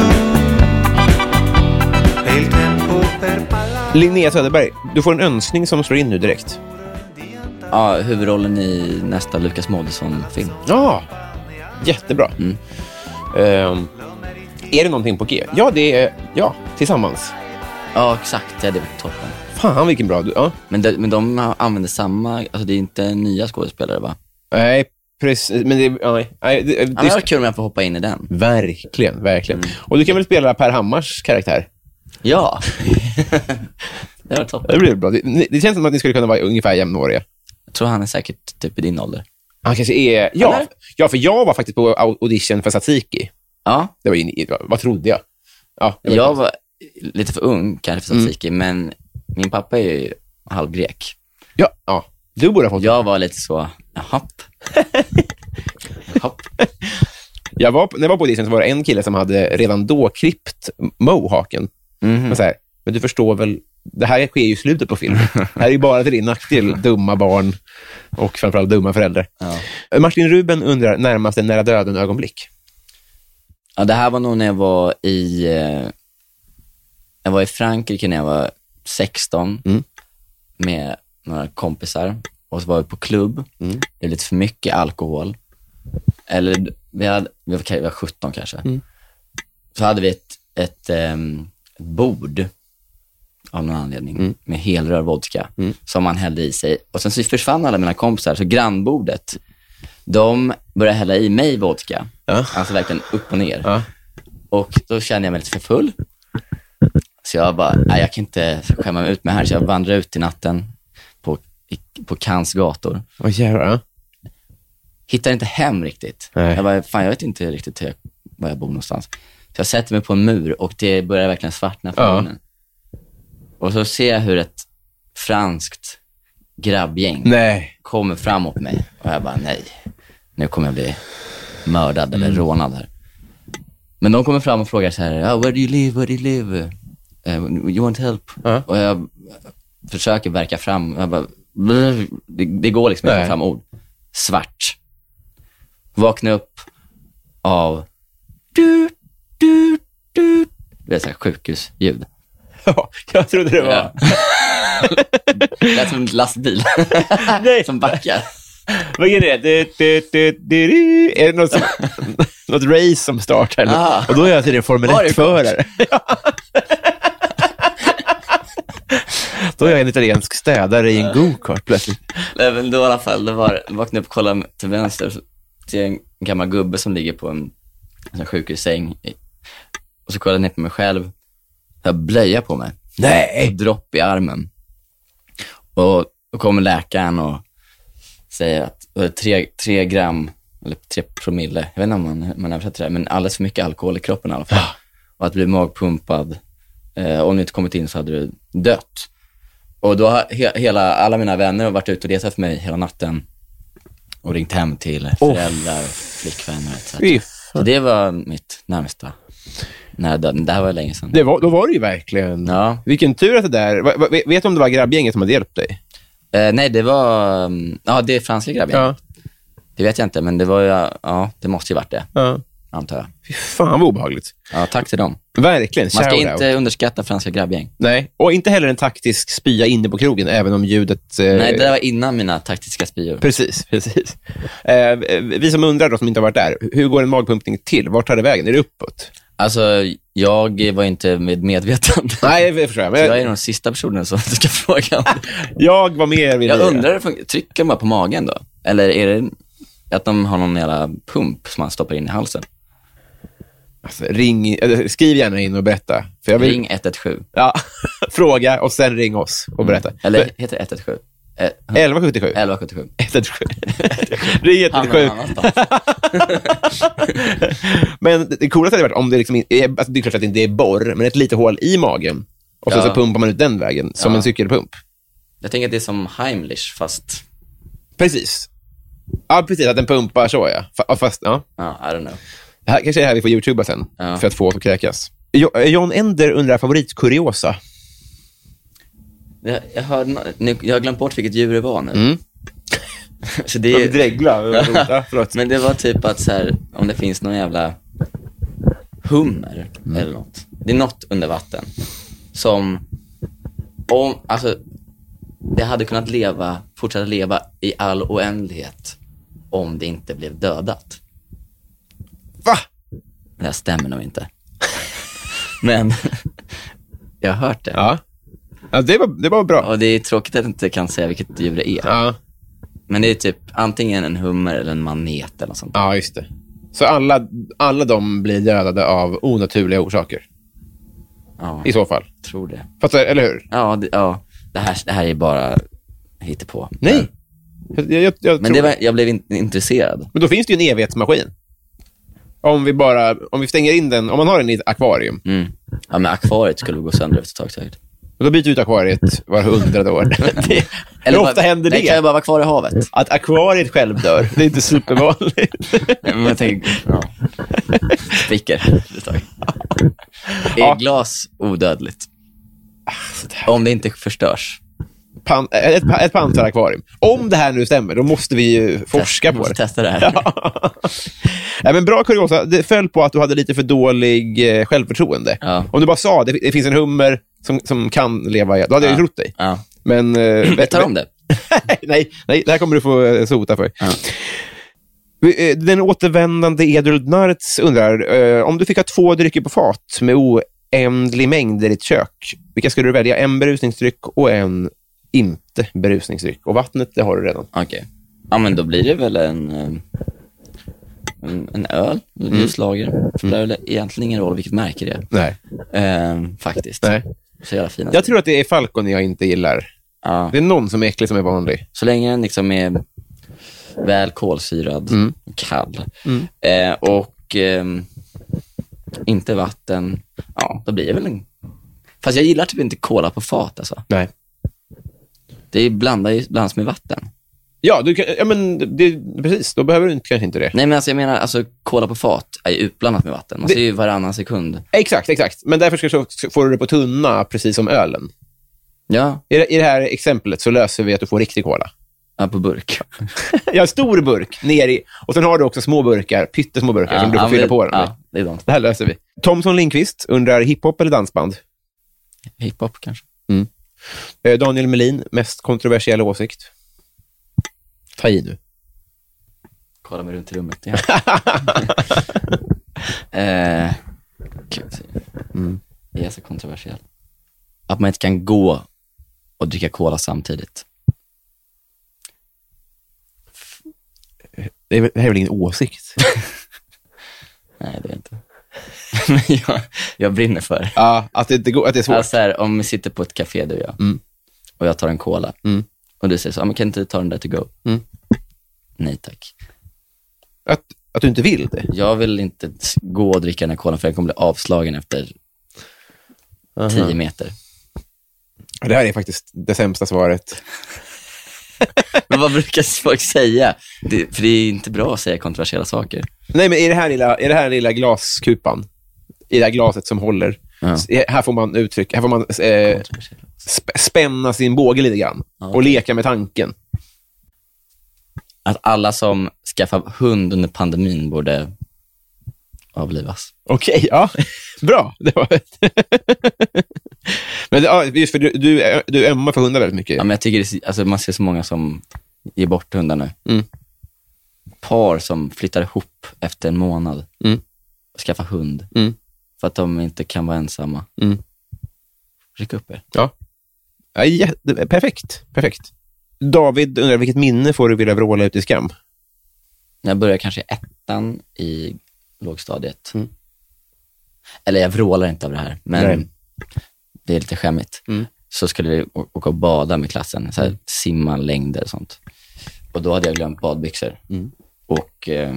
Speaker 4: È il tempo per parlare
Speaker 1: Linnea Söderberg, du får en önskning som slår in nu direkt.
Speaker 4: di andare.
Speaker 2: Ja, huvudrollen i nästa Lukas Moodysson-film.
Speaker 1: Ja, jättebra.
Speaker 2: Mm.
Speaker 1: Ehm, är det någonting på G? Ja, det är... Ja, tillsammans.
Speaker 2: Ja, exakt. Ja, det var toppen.
Speaker 1: Fan, vilken bra du... Ja.
Speaker 2: Men de, men de använder samma, alltså det är inte nya skådespelare va?
Speaker 1: Nej, precis. Men det... Nej, nej, det, det,
Speaker 2: Ja, men det var kul om jag får hoppa in i den.
Speaker 1: Verkligen, verkligen. Och du kan väl spela Per Hammars karaktär?
Speaker 2: Ja. det var toppen.
Speaker 1: Det blir bra. Det, ni- det känns som att ni skulle kunna vara ungefär jämnåriga.
Speaker 2: Jag tror han är säkert typ i din ålder.
Speaker 1: Han kanske är... Ja,
Speaker 2: Eller?
Speaker 1: ja, för jag var faktiskt på au- audition för Tsatsiki.
Speaker 2: Ja,
Speaker 1: Det var ju, vad trodde jag? Ja, det var Mm.
Speaker 2: jag var lite för ung kanske för Tsatsiki, men min pappa är ju halvgrek.
Speaker 1: ja, ja, du borde ha fått
Speaker 2: Jag var lite så, jaha. Hopp.
Speaker 1: Jag var, på- när jag var på audition så var det en kille som hade redan då klippt mohaken.
Speaker 2: Mhm,
Speaker 1: Men, så här, men du förstår väl, det här sker ju i slutet på filmen. det här är ju bara till din nackdel, dumma barn och framförallt dumma föräldrar. Martin Ruben undrar närmast en nära döden-ögonblick.
Speaker 2: Ja, det här var nog när jag var i, eh, jag var i Frankrike när jag var 16 med några kompisar och så var vi på klubb. Det blev lite för mycket alkohol. Eller vi, hade, vi, var, vi var 17 kanske. Så hade vi ett, ett, ehm, ett bord av någon anledning med helrör vodka som man hällde i sig. Och sen så försvann alla mina kompisar, så grannbordet, de började hälla i mig vodka. Alltså verkligen upp och ner.
Speaker 1: Ja.
Speaker 2: Och då kände jag mig lite för full. Så jag bara, nej jag kan inte skämma mig ut med det här. Så jag vandrade ut i natten på, i, på Cannes gator.
Speaker 1: Åh jävlar.
Speaker 2: Hittade inte hem riktigt.
Speaker 1: Nej.
Speaker 2: Jag bara, fan jag vet inte riktigt hur jag, var jag bor någonstans. Så jag sätter mig på en mur och det börjar verkligen svartna för
Speaker 1: Ja.
Speaker 2: ögonen. Och så ser jag hur ett franskt grabbgäng
Speaker 1: Nej.
Speaker 2: kommer framåt mig och jag bara nej, nu kommer jag bli mördad
Speaker 1: Mm.
Speaker 2: eller rånad här. Men de kommer fram och frågar så här, ah, where do you live, where do you live? Eh, you want help?
Speaker 1: Ja.
Speaker 2: Och jag försöker verka fram, jag bara, "Brr." det, det går liksom inte
Speaker 1: Nej.
Speaker 2: att få fram ord. Svart. Vakna upp av du, du, du. Det är så här sjukhusljud.
Speaker 1: Ja, jag trodde det var...
Speaker 2: Ja. Det lät som en lastbil som backar.
Speaker 1: Vad är det? Du, du, du, du, du. Är det något, som, något race som startar?
Speaker 2: Ah.
Speaker 1: Och då är jag tydligen Formel
Speaker 2: Var det
Speaker 1: 1-förare. då är jag en italiensk städare
Speaker 2: Ah.
Speaker 1: i en go-kart plötsligt.
Speaker 2: Nej, men då i alla fall, det var, jag vaknade upp och kollade till vänster, så ser jag en gammal gubbe som ligger på en, en sjukhussäng. i- Och så kollade jag ner på mig själv, jag har blöja på mig,
Speaker 1: Nej!
Speaker 2: och dropp i armen. Och då kommer läkaren och säger att eh, tre, tre gram, eller tre promille, jag vet inte om man, man översätter det, här, men alldeles för mycket alkohol i kroppen i alla fall. Och att bli magpumpad. Eh, om du inte kommit in så hade du dött. Och då har he, hela, alla mina vänner har varit ute och letat efter mig hela natten och ringt hem till föräldrar, flickvänner etc.
Speaker 1: Fy
Speaker 2: Så det var mitt närmsta nära döden. Det här var länge sedan.
Speaker 1: Det var, då var det ju verkligen...
Speaker 2: Ja.
Speaker 1: Vilken tur att det där... va- va- Vet du om det var grabbgänget som hade hjälpt dig?
Speaker 2: Eh, nej, det var... mm, Ja, det är franska grabben. Det vet jag inte, men det var ju... Ja, det måste ju varit det,
Speaker 1: ja.
Speaker 2: antar jag.
Speaker 1: Fy fan vad obehagligt.
Speaker 2: Ja, tack till dem.
Speaker 1: Verkligen.
Speaker 2: Man ska
Speaker 1: Shout out.
Speaker 2: inte underskatta franska grabbgäng.
Speaker 1: Nej, och inte heller en taktisk spya inne på krogen, även om ljudet... eh,
Speaker 2: Nej, det där var innan mina taktiska spyor.
Speaker 1: Precis, precis. Eh, vi som undrar, då, som inte har varit där, hur går en magpumpning till? Vart tar det vägen? Är det uppåt?
Speaker 2: Alltså, jag var inte med medvetande.
Speaker 1: Nej, det förstår jag. Men
Speaker 2: Jag är
Speaker 1: jag,
Speaker 2: den sista personen som du ska fråga om.
Speaker 1: jag var med er vid
Speaker 2: Jag
Speaker 1: det.
Speaker 2: undrar, fun- trycker de bara på magen då? Eller är det att de har någon jävla pump som man stoppar in i halsen?
Speaker 1: Alltså, ring, eller, skriv gärna in och berätta. För jag vill,
Speaker 2: Ring 117.
Speaker 1: Ja, fråga och sen ring oss och berätta.
Speaker 2: Mm, Eller heter det 117? Eh,
Speaker 1: 1177.
Speaker 2: 1177.
Speaker 1: 117. Ring
Speaker 2: Hamnar någon
Speaker 1: 117.
Speaker 2: annanstans.
Speaker 1: Men det coolaste hade varit om det liksom in, är- alltså det är klart att det inte är borr, men ett litet hål i magen. Och sen
Speaker 2: Ja.
Speaker 1: så pumpar man ut den vägen, som
Speaker 2: Ja.
Speaker 1: en cykelpump.
Speaker 2: Jag tänker att det är som Heimlich, fast
Speaker 1: Precis. Ja, precis. Att den pumpar så, ja. Fa- ja, Fast, ja.
Speaker 2: ja, I don't know.
Speaker 1: Det här kanske är det här vi får youtuba sen,
Speaker 2: Ja.
Speaker 1: för att få oss att kräkas. Jo- eh, John Ender undrar favoritkuriosa.
Speaker 2: Jag, jag, hör, nu, jag har glömt bort vilket djur det var nu. så det
Speaker 1: Jag
Speaker 2: är,
Speaker 1: dreglar. Ja, förlåt.
Speaker 2: men det var typ att så här, om det finns någon jävla hummer eller något. Det är något under vatten som, om, alltså, det hade kunnat leva, fortsätta leva i all oändlighet om det inte blev dödat.
Speaker 1: Va?
Speaker 2: Det här stämmer nog inte. men jag har hört det.
Speaker 1: Ja. ja det, var, det var bra.
Speaker 2: Och det är tråkigt att jag inte kan säga vilket djur det är.
Speaker 1: Ja.
Speaker 2: Men det är typ antingen en hummer eller en manet eller något sånt.
Speaker 1: Ja, just det. Så alla, alla de blir dödade av onaturliga orsaker,
Speaker 2: Ja,
Speaker 1: i så fall.
Speaker 2: jag tror det.
Speaker 1: Fast, eh, eller hur?
Speaker 2: Ja, det, ja. Det, här, det här är bara hittepå.
Speaker 1: Nej. Jag, jag, jag
Speaker 2: Men
Speaker 1: tror-
Speaker 2: det var, jag blev in, intresserad.
Speaker 1: Men då finns det ju en evighetsmaskin. Om vi bara, om vi stänger in den, om man har den i ett akvarium,
Speaker 2: Mm. Ja, men akvariet skulle gå sönder efter ett tag säkert.
Speaker 1: då byter vi ut akvariet var hundrade år. det, hur ofta
Speaker 2: bara,
Speaker 1: händer
Speaker 2: Nej, kan jag
Speaker 1: det?
Speaker 2: bara vara kvar i havet?
Speaker 1: Att akvariet själv dör, det är inte supervanligt.
Speaker 2: men jag tänker, ja. Spricker efter ett tag.
Speaker 1: Ja.
Speaker 2: Är glas odödligt? Om det inte förstörs.
Speaker 1: Pan, eh, ett ett pansarakvarium. Om det här nu stämmer, då måste vi ju forska
Speaker 2: Test-
Speaker 1: på det.
Speaker 2: måste Testa det här.
Speaker 1: Nej, men bra kuriosa. Det föll på att du hade lite för dålig eh, självförtroende.
Speaker 2: Ja.
Speaker 1: Om du bara sa det, det finns en hummer som, som kan leva i... Då hade jag ju trott dig.
Speaker 2: Ja.
Speaker 1: Men... Eh,
Speaker 2: Vi tar om det.
Speaker 1: nej, nej, det här kommer du få eh, sota för. Vi, eh, Den återvändande Edrud Narts undrar, eh, om du fick ha två drycker på fat med oändlig mängd i ditt kök, vilka skulle du välja? En berusningsdryck och en inte berusningsdryck. Och vattnet, det har du redan.
Speaker 2: Okej. Ja, men då blir det väl en, eh, en, en öl, eller
Speaker 1: Mm.
Speaker 2: ljuslager. Det spelar väl egentligen ingen roll vilket märke det är.
Speaker 1: Nej.
Speaker 2: Ehm, faktiskt.
Speaker 1: Nej.
Speaker 2: Så jävla fina.
Speaker 1: Jag tror att det är Falcon jag inte gillar.
Speaker 2: ja.
Speaker 1: Det är någon som är äcklig som är vanlig.
Speaker 2: Så länge den liksom är väl kolsyrad,
Speaker 1: Mm.
Speaker 2: kall eh, och ehm, inte vatten, ja, då blir det väl en... Fast jag gillar typ inte kola på fat. Alltså.
Speaker 1: Nej.
Speaker 2: Det blandar ju, blandas med vatten.
Speaker 1: Ja, du kan, ja men det, precis. Då behöver du inte, kanske inte det.
Speaker 2: Nej, men alltså, jag menar, alltså, kola på fat är ju utblandat med vatten. Man
Speaker 1: Det-
Speaker 2: ser ju varannan sekund.
Speaker 1: Exakt, exakt. Men därför ska, så får du det på tunna, precis som ölen.
Speaker 2: Ja,
Speaker 1: I det, I det här exemplet så löser vi att du får riktig cola.
Speaker 2: ja på burk.
Speaker 1: Jag har en stor burk ner i, och sen har du också små burkar, pyttesmå burkar som du får
Speaker 2: ja,
Speaker 1: fylla
Speaker 2: men-
Speaker 1: på den med.
Speaker 2: Ja, det är de.
Speaker 1: Det här löser vi. Thomson Lindqvist undrar hiphop eller dansband?
Speaker 2: Hiphop kanske.
Speaker 1: Eh, Daniel Melin, mest kontroversiella åsikt? Ta i nu.
Speaker 2: Kolla mig runt i rummet igen. eh, kul att se. Det är så kontroversiellt. Mm. Att man inte kan gå och dricka cola samtidigt.
Speaker 1: Det, är, väl- det här är väl ingen åsikt?
Speaker 2: Nej, det är inte. Men jag, jag brinner för det.
Speaker 1: ja, att det, inte går, att det är svårt.
Speaker 2: Alltså här, om vi sitter på ett Mm. café du och jag, och jag tar en cola, och du säger så, "Ah, men kan inte du ta den där to go? nej tack.
Speaker 1: Att, att du inte vill det?
Speaker 2: Jag vill inte s- gå och dricka den här kolan för jag kommer bli avslagen efter tio meter.
Speaker 1: Det här är faktiskt det sämsta svaret.
Speaker 2: Men vad brukar folk säga? Det, för det är inte bra att säga kontroversiella saker.
Speaker 1: Nej, men i det här lilla, i det här lilla glaskupan, i det här glaset som håller,
Speaker 2: Ja.
Speaker 1: s- här får man uttryck, här får man eh,
Speaker 2: Kontroversiella.
Speaker 1: sp- spänna sin båge lite grann och leka med tanken.
Speaker 2: Att alla som skaffar hund under pandemin borde avlivas.
Speaker 1: Okej, ja. Bra. Det var... men det- ja, just för du, du, du ömmar för hundar väldigt mycket.
Speaker 2: Ja, men jag tycker det, är så- alltså, man ser så många som ger bort hundar nu.
Speaker 1: Mm.
Speaker 2: Par som flyttar ihop efter en månad
Speaker 1: Mm.
Speaker 2: och skaffar hund
Speaker 1: Mm.
Speaker 2: för att de inte kan vara ensamma.
Speaker 1: Mm.
Speaker 2: Ryck upp er.
Speaker 1: Ja, jätte- perfekt. perfekt. David undrar, vilket minne får du vilja vråla ut i skam?
Speaker 2: När jag började kanske i ettan i lågstadiet. Eller jag vrålar inte av det här, men
Speaker 1: Mm. Nej.
Speaker 2: det är lite skämmigt.
Speaker 1: Mm.
Speaker 2: Så skulle vi å- åka och bada med klassen, så här, simma längder och sånt. Och då hade jag glömt badbyxor.
Speaker 1: Mm.
Speaker 2: Och eh,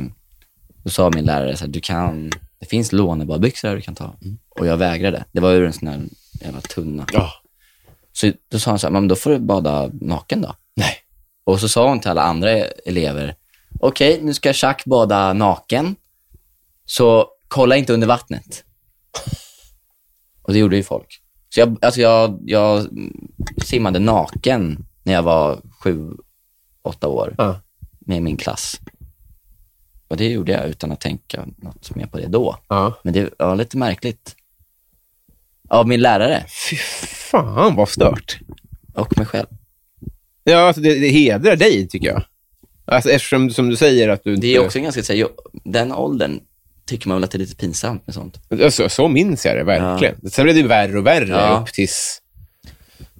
Speaker 2: då sa min lärare, så här, du kan, det finns lånebadbyxor du kan ta. Och jag vägrade. Det var ur en sån här jävla tunna.
Speaker 1: Mm. Ja.
Speaker 2: Så då sa han så här, men då får du bada naken då. Nej. Och så sa hon till alla andra elever, okej, nu ska Chuck bada naken, så kolla inte under vattnet. Och det gjorde ju folk. Så jag, alltså jag, jag simmade naken när jag var sju, åtta år
Speaker 1: Ja.
Speaker 2: med min klass. Och det gjorde jag utan att tänka något mer på det då.
Speaker 1: ja.
Speaker 2: Men det var lite märkligt. Av min lärare
Speaker 1: Fy fan vad stört.
Speaker 2: och mig själv.
Speaker 1: Ja, alltså, det, det hedrar dig, tycker jag. Alltså, eftersom, som du säger, att du inte...
Speaker 2: Det är också ganska, så här, jag- den åldern tycker man väl att det är lite pinsamt med sånt.
Speaker 1: Alltså, så minns jag det verkligen. Sen blev det ju värre och värre
Speaker 2: Ja.
Speaker 1: upp tills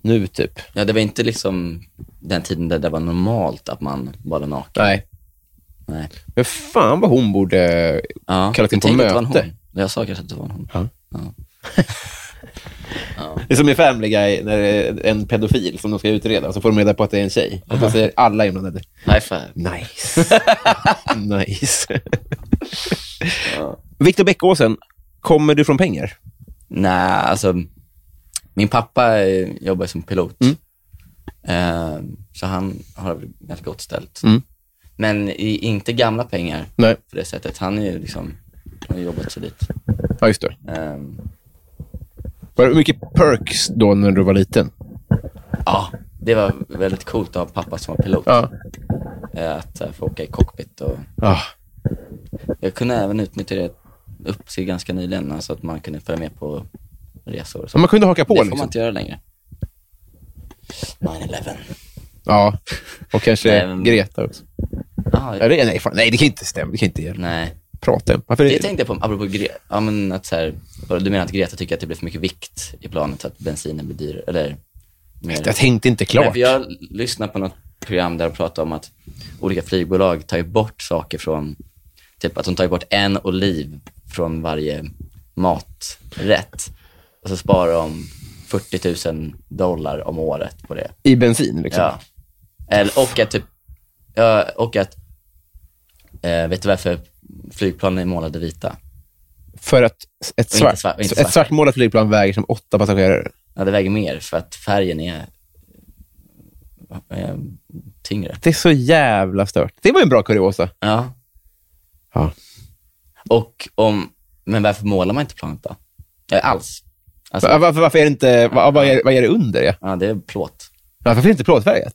Speaker 1: nu, typ.
Speaker 2: Ja, det var inte liksom den tiden där det var normalt att man badade naken.
Speaker 1: Nej.
Speaker 2: Nej.
Speaker 1: Men fan vad hon borde...
Speaker 2: Ja,
Speaker 1: Kallat in
Speaker 2: jag
Speaker 1: på
Speaker 2: tänkte att det var en
Speaker 1: möte.
Speaker 2: Hon. Jag sa kanske att det var en hon.
Speaker 1: Ja.
Speaker 2: Ja.
Speaker 1: Det är som i Family Guy, när det är en pedofil som de ska utreda, så får de reda på att det är en tjej. Och då säger alla inblandade
Speaker 2: High five.
Speaker 1: Nice. nice. Viktor Bäckåsen, kommer du från pengar?
Speaker 2: Nej, alltså min pappa eh, jobbar som pilot.
Speaker 1: Mm.
Speaker 2: Eh, så han har det ganska gott ställt.
Speaker 1: Mm.
Speaker 2: Men i, inte gamla pengar
Speaker 1: Nej.
Speaker 2: på det sättet. Han är ju liksom, han har jobbat sig dit.
Speaker 1: Ja, just det.
Speaker 2: Eh,
Speaker 1: Var det mycket perks då när du var liten?
Speaker 2: ja, det var väldigt coolt att ha pappa som var pilot.
Speaker 1: Ja.
Speaker 2: Eh, Att eh, få åka i cockpit och
Speaker 1: ja.
Speaker 2: Jag kunde även utnyttja det upp till ganska nyligen, alltså att man kunde följa med på resor och
Speaker 1: Så
Speaker 2: så.
Speaker 1: man kunde haka på
Speaker 2: det får man
Speaker 1: liksom.
Speaker 2: inte göra längre. 9-11.
Speaker 1: Ja. Och kanske
Speaker 2: Nej, men-
Speaker 1: Greta också.
Speaker 2: Ah,
Speaker 1: Ja, det, nej, fan, nej, det kan inte stämma. Det kan inte gärna.
Speaker 2: nej.
Speaker 1: prata om. Varför
Speaker 2: Det tänkte jag på, apropå Greta. Ja, men att så här, vadå, du menar att Greta tycker att det blir för mycket vikt i planet, så att bensinen blir dyrare? Eller mer?
Speaker 1: jag tänkte inte
Speaker 2: Nej,
Speaker 1: klart.
Speaker 2: för jag lyssnade på något program där de pratade om att olika flygbolag tar ju bort saker från, typ att de tar ju bort en oliv från varje maträtt. Och så sparar de 40 000 dollar om året på det.
Speaker 1: I bensin liksom.
Speaker 2: Ja. Eller, och att, typ, ja, och att eh, vet du varför flygplanen är målade vita?
Speaker 1: För att ett,
Speaker 2: inte
Speaker 1: svart,
Speaker 2: svart- inte
Speaker 1: ett
Speaker 2: svart.
Speaker 1: svartmålat flygplan väger som åtta passagerare.
Speaker 2: Ja, det väger mer för att färgen är eh, tyngre.
Speaker 1: Det är så jävla stört. Det var ju en bra kuriosa.
Speaker 2: Ja.
Speaker 1: Ja.
Speaker 2: Och om, men varför målar man inte planet då? Eh, alls. Alltså,
Speaker 1: Va- Varför, varför är det inte... va- Vad är, vad är det under? Ja?
Speaker 2: ja, det är plåt.
Speaker 1: Varför är det inte plåtfärgat?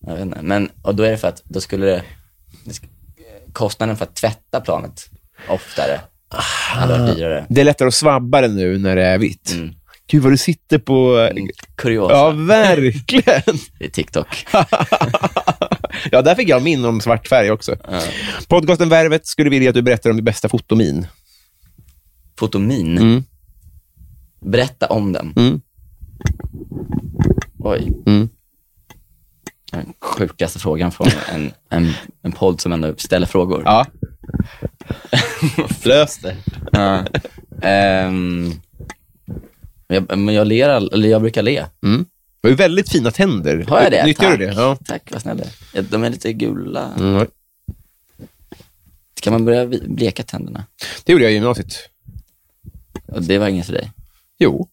Speaker 2: Jag vet inte. Men, och då är det för att då skulle det, det sk- kostnaden för att tvätta planet oftare hade varit dyrare.
Speaker 1: Det är lättare att svabba det nu när det är vitt.
Speaker 2: Mm.
Speaker 1: Gud, vad du sitter på...
Speaker 2: Kuriosa.
Speaker 1: Ja, verkligen.
Speaker 2: Det är TikTok.
Speaker 1: ja, där fick jag min om svart färg också. Podcasten Värvet skulle vilja att du berättar om din bästa fotomin.
Speaker 2: Fotomin.
Speaker 1: Mm.
Speaker 2: Berätta om den.
Speaker 1: Mm.
Speaker 2: Oj.
Speaker 1: Mm.
Speaker 2: Den sjukaste frågan från en, en, en podd som ändå ställer frågor.
Speaker 1: Ja. Lös det.
Speaker 2: Ja. Ehm, jag, men jag ler, all- eller jag brukar le.
Speaker 1: Du har ju väldigt fina tänder.
Speaker 2: Har jag det?
Speaker 1: Nyttjar
Speaker 2: Tack.
Speaker 1: du det? Ja.
Speaker 2: Tack, vad snäll du är. Ja, De är lite gula.
Speaker 1: Mm.
Speaker 2: Kan man börja vi- bleka tänderna?
Speaker 1: Det gjorde jag i gymnasiet.
Speaker 2: Och det var inget för dig?
Speaker 1: Jo.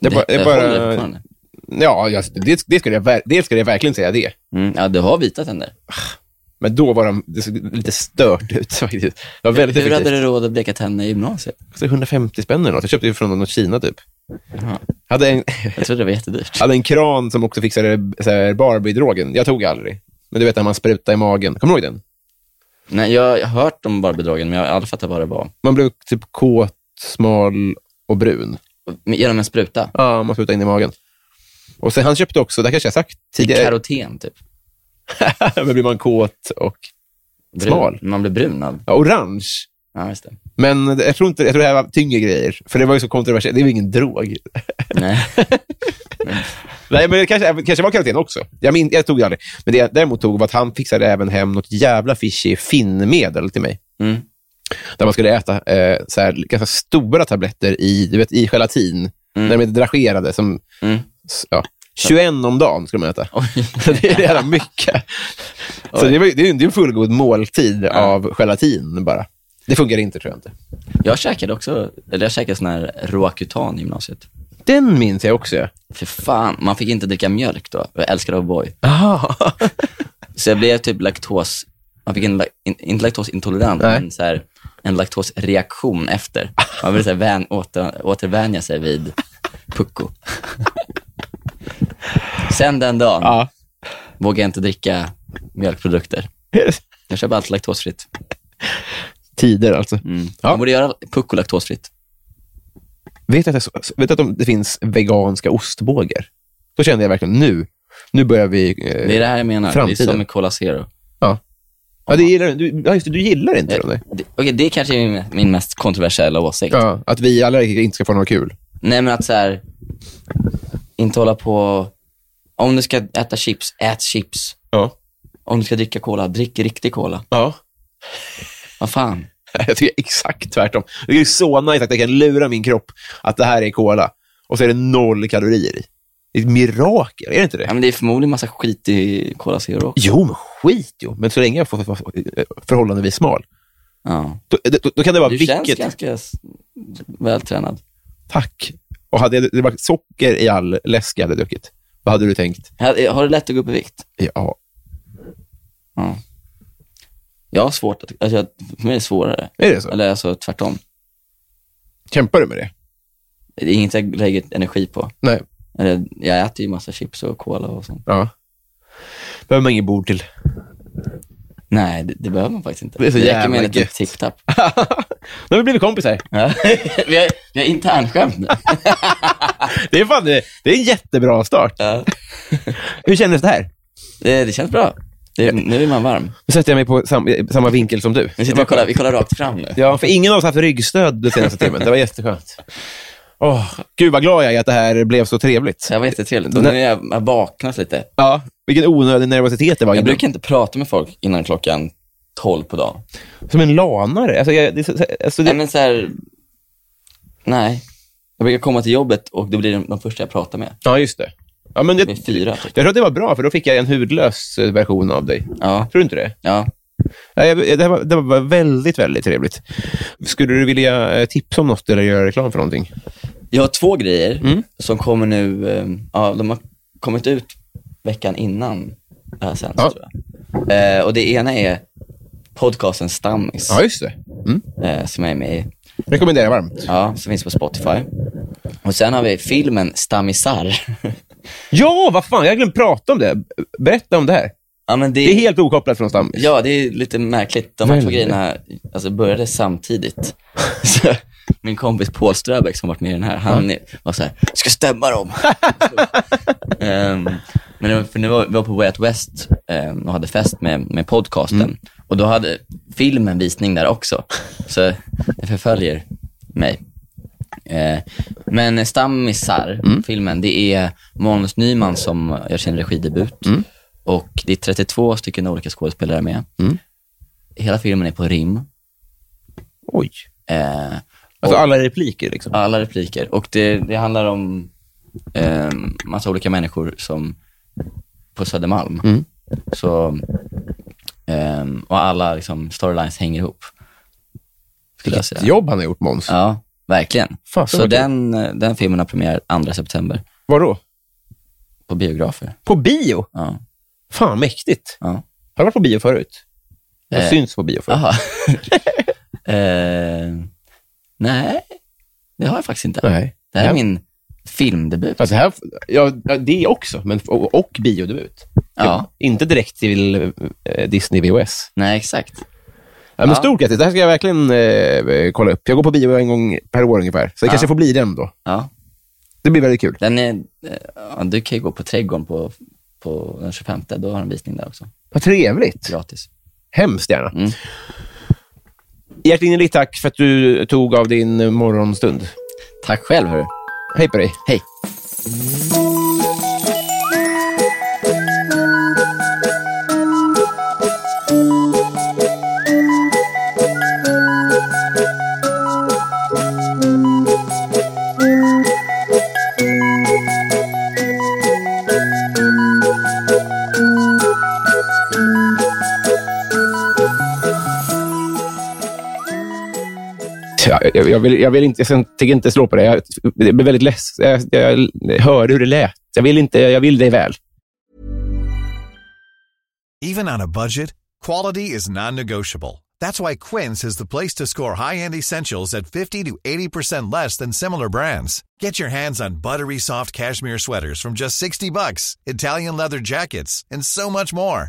Speaker 1: Det, bara- det,
Speaker 2: håller
Speaker 1: bara,
Speaker 2: fortfarande.
Speaker 1: ja, jag, det, det, skulle jag, ver- det skulle jag verkligen säga det.
Speaker 2: Mm, ja, du har vita tänder.
Speaker 1: Men då var de det såg lite stört ut faktiskt. Det var väldigt
Speaker 2: Hur hade
Speaker 1: effektivt.
Speaker 2: du råd att bleka tänderna i gymnasiet?
Speaker 1: Det... 150 spänn eller något. Jag köpte det från någon Kina typ. Hade en,
Speaker 2: Jag trodde det var jättedyrt.
Speaker 1: hade en kran som också fixade så här, Barbie-drogen. Jag tog aldrig. Men du vet när man sprutar i magen. Kommer du ihåg den?
Speaker 2: Nej, jag har hört om Barbiedragen, men jag har aldrig fattat vad det var.
Speaker 1: Man blev typ kåt, smal och brun.
Speaker 2: Men Genom en spruta?
Speaker 1: Ja, man sprutar in i magen. Och sen han köpte också, det här kanske jag har sagt tidigare,
Speaker 2: Karoten, typ?
Speaker 1: men blir man kåt och
Speaker 2: Brun.
Speaker 1: Smal.
Speaker 2: Man blir brun av.
Speaker 1: ja, orange.
Speaker 2: Ja, just det.
Speaker 1: Men jag tror, inte, jag tror det här var tyngre grejer, för det var ju så kontroversiellt. Det är ju ingen drog.
Speaker 2: Nej.
Speaker 1: Nej, men det kanske, kanske var karantän också. Jag, min, jag tog det aldrig. Men det jag däremot tog var att han fixade även hem något jävla fishy finnmedel till mig.
Speaker 2: Mm.
Speaker 1: Där man skulle äta eh, så här, ganska stora tabletter i, du vet, i gelatin. När de är dragerade. Som,
Speaker 2: Mm.
Speaker 1: s- ja, 21 om dagen skulle man äta. det är jävla mycket. Så det, var, ju- det är ju det är en fullgod måltid av gelatin bara. Det funkar inte, tror jag inte.
Speaker 2: Jag käkade också, eller jag käkade sån här Roacutan i gymnasiet.
Speaker 1: Den minns jag också.
Speaker 2: För fan, man fick inte dricka mjölk då. Jag älskade O'boy.
Speaker 1: Aha.
Speaker 2: Så jag blev typ laktos... Man fick en, la- in, inte laktosintolerant,
Speaker 1: Nej.
Speaker 2: men så här, en laktosreaktion efter. Man ville så här, vän, åter, återvänja sig vid pucko. Sen den dagen
Speaker 1: Ja.
Speaker 2: vågade jag inte dricka mjölkprodukter. Jag köper allt laktosfritt.
Speaker 1: Tider, alltså.
Speaker 2: Man
Speaker 1: Ja.
Speaker 2: borde göra pucko laktosfritt.
Speaker 1: Vet du att, jag, vet du att de, det finns veganska ostbågar? Då kände jag verkligen nu, nu börjar vi... Eh,
Speaker 2: Det är det här jag menar. Det är
Speaker 1: Framtiden.
Speaker 2: som med Cola Zero.
Speaker 1: Ja. Ja, det gillar, du, ja, just det, du gillar inte
Speaker 2: Eh,
Speaker 1: dem. nej.
Speaker 2: det, okej, det är kanske är min, min mest kontroversiella åsikt.
Speaker 1: Ja, att vi allergiker inte ska få något kul.
Speaker 2: Nej, men att så här, inte hålla på... Om du ska äta chips, ät chips.
Speaker 1: Ja.
Speaker 2: Om du ska dricka cola, drick riktig cola.
Speaker 1: ja.
Speaker 2: Vad fan?
Speaker 1: Jag tycker exakt tvärtom. Det är ju så nice att jag kan lura min kropp att det här är cola och så är det noll kalorier i. Det är ett mirakel, är det inte
Speaker 2: Ja,
Speaker 1: det?
Speaker 2: men det är förmodligen massa skit i Cola Zero också.
Speaker 1: Jo, men skit jo. Men så länge jag får får- får- förhållandevis smal,
Speaker 2: Ja.
Speaker 1: då, då, då kan det vara
Speaker 2: Du känns
Speaker 1: vilket...
Speaker 2: ganska s- vältränad.
Speaker 1: Tack. Och hade jag- det var socker i all läsk jag hade druckit, vad hade du tänkt?
Speaker 2: Har har du lätt att gå upp i vikt?
Speaker 1: Ja,
Speaker 2: Ja. Jag har svårt att... Alltså jag, för mig är det svårare.
Speaker 1: är det så?
Speaker 2: Eller alltså tvärtom.
Speaker 1: Kämpar du med det?
Speaker 2: Det är inget jag lägger energi på.
Speaker 1: Nej.
Speaker 2: Eller, jag äter ju massa chips och cola och sånt.
Speaker 1: Ja. behöver man inget bord till.
Speaker 2: Nej, det, det behöver man faktiskt inte.
Speaker 1: Det är så
Speaker 2: räcker med
Speaker 1: jävla
Speaker 2: en liten
Speaker 1: gött.
Speaker 2: tipp-tapp.
Speaker 1: Nu har vi blivit kompisar.
Speaker 2: Ja. vi har, vi har internskämt nu.
Speaker 1: Det är, fan, det det är en jättebra start.
Speaker 2: Ja.
Speaker 1: Hur kändes det här?
Speaker 2: Eh, Det, det känns bra. Det,
Speaker 1: Mm.
Speaker 2: nu är man varm.
Speaker 1: Nu sätter jag mig på sam, eh, samma vinkel som du.
Speaker 2: Nu sitter vi, och kollar, vi kollar rakt fram nu.
Speaker 1: Ja, för ingen av oss har haft ryggstöd den senaste timmen. Det var jätteskönt. Åh, gud vad glad jag är att det här blev så trevligt.
Speaker 2: Det här var jättetrevligt. Då när jag jag har vaknat lite.
Speaker 1: Ja, vilken onödig nervositet det var
Speaker 2: Jag
Speaker 1: innan.
Speaker 2: brukar inte prata med folk innan klockan 12 på dagen.
Speaker 1: Som en lanare. Alltså, jag, det, är så- alltså,
Speaker 2: Nej,
Speaker 1: det,
Speaker 2: men så här, nej. Jag brukar komma till jobbet och då blir de, de första jag pratar med.
Speaker 1: ja, just det. Ja, men det
Speaker 2: Med fyra. typ.
Speaker 1: jag tror att det var bra, för då fick jag en hudlös eh, version av dig.
Speaker 2: Ja.
Speaker 1: Tror du inte det?
Speaker 2: ja.
Speaker 1: Ja, jag, det, här var, det här var väldigt, väldigt trevligt. Skulle du vilja eh, tipsa om något eller göra reklam för någonting?
Speaker 2: Jag har två grejer
Speaker 1: Mm.
Speaker 2: som kommer nu. eh, Ja, de har kommit ut veckan innan det här sänds,
Speaker 1: Ja.
Speaker 2: tror jag. Eh, och det ena är podcasten Stammis,
Speaker 1: Ja, just det. Mm.
Speaker 2: eh, som jag är med i.
Speaker 1: Rekommenderar varmt.
Speaker 2: Ja, som finns på Spotify. Och sen har vi filmen Stammisar.
Speaker 1: Ja, vad fan, jag har glömt prata om det. Berätta om det här.
Speaker 2: ja, men det,
Speaker 1: Det är helt okopplat från stammis.
Speaker 2: ja, det är lite märkligt. De här två
Speaker 1: Väldigt.
Speaker 2: grejerna alltså, började samtidigt. Så, min kompis Paul Ströbeck som varit med i den här, han var så här, ska stämma dem. Ehm, men det var- för nu var, vi var på Way Out West ehm, och hade fest med, med podcasten. Och då hade filmen visning där också. Så det förföljer mig. Eh, men Stammisar, filmen, det är Måns Nyman som gör sin regidebut. Och det är 32 stycken olika skådespelare med. Hela filmen är på rim.
Speaker 1: Oj.
Speaker 2: Eh,
Speaker 1: Alltså alla repliker liksom.
Speaker 2: alla repliker. Och det, det handlar om eh, massa olika
Speaker 1: Mm.
Speaker 2: människor som på Södermalm. Så eh, Ehm, och alla liksom, storylines hänger ihop. Skulle jag
Speaker 1: Vilket
Speaker 2: säga.
Speaker 1: jobb han har gjort, Måns.
Speaker 2: Ja, verkligen.
Speaker 1: Fan,
Speaker 2: så
Speaker 1: vad kul.
Speaker 2: den, eh, den filmen har premiär 2 september
Speaker 1: Vadå?
Speaker 2: på biografer.
Speaker 1: På bio?
Speaker 2: Ja.
Speaker 1: Fan, mäktigt.
Speaker 2: Ja.
Speaker 1: Har du varit på bio förut? Jag
Speaker 2: Eh,
Speaker 1: syns på bio förut.
Speaker 2: Jaha. Ehm, nej, det har jag faktiskt inte.
Speaker 1: Nej.
Speaker 2: Det här är
Speaker 1: Ja.
Speaker 2: min filmdebut.
Speaker 1: Alltså här, ja, ja, det också, men, och, och biodebut.
Speaker 2: Ja.
Speaker 1: Inte direkt till eh, Disney VHS.
Speaker 2: Nej, exakt.
Speaker 1: Ja, men
Speaker 2: Ja.
Speaker 1: Stort grattis. Det här ska jag verkligen eh, kolla upp. Jag går på bio en gång per år ungefär, så det kanske får bli den då.
Speaker 2: Ja.
Speaker 1: Det blir väldigt kul.
Speaker 2: Den är, eh, ja, du kan ju gå på Trädgården på, på den 25. Då har de visning där också.
Speaker 1: Vad trevligt.
Speaker 2: Gratis.
Speaker 1: Hemskt gärna. Hjärtinnerligt tack för att du tog av din eh, morgonstund.
Speaker 2: Tack själv, hörru.
Speaker 1: Hej på dig.
Speaker 2: Hej.
Speaker 1: Ja, Jag, jag, vill, jag, vill inte, jag sen- tänker inte slå på det. Jag, jag blir väldigt less. Jag, jag hörde hur det lät. Jag vill, inte, jag vill dig väl.
Speaker 5: Even on a budget, quality is non-negotiable. That's why Quince is the place to score high-end essentials at 50 to 80% less than similar brands. Get your hands on buttery soft cashmere sweaters from just 60 bucks, Italian leather jackets, and so much more.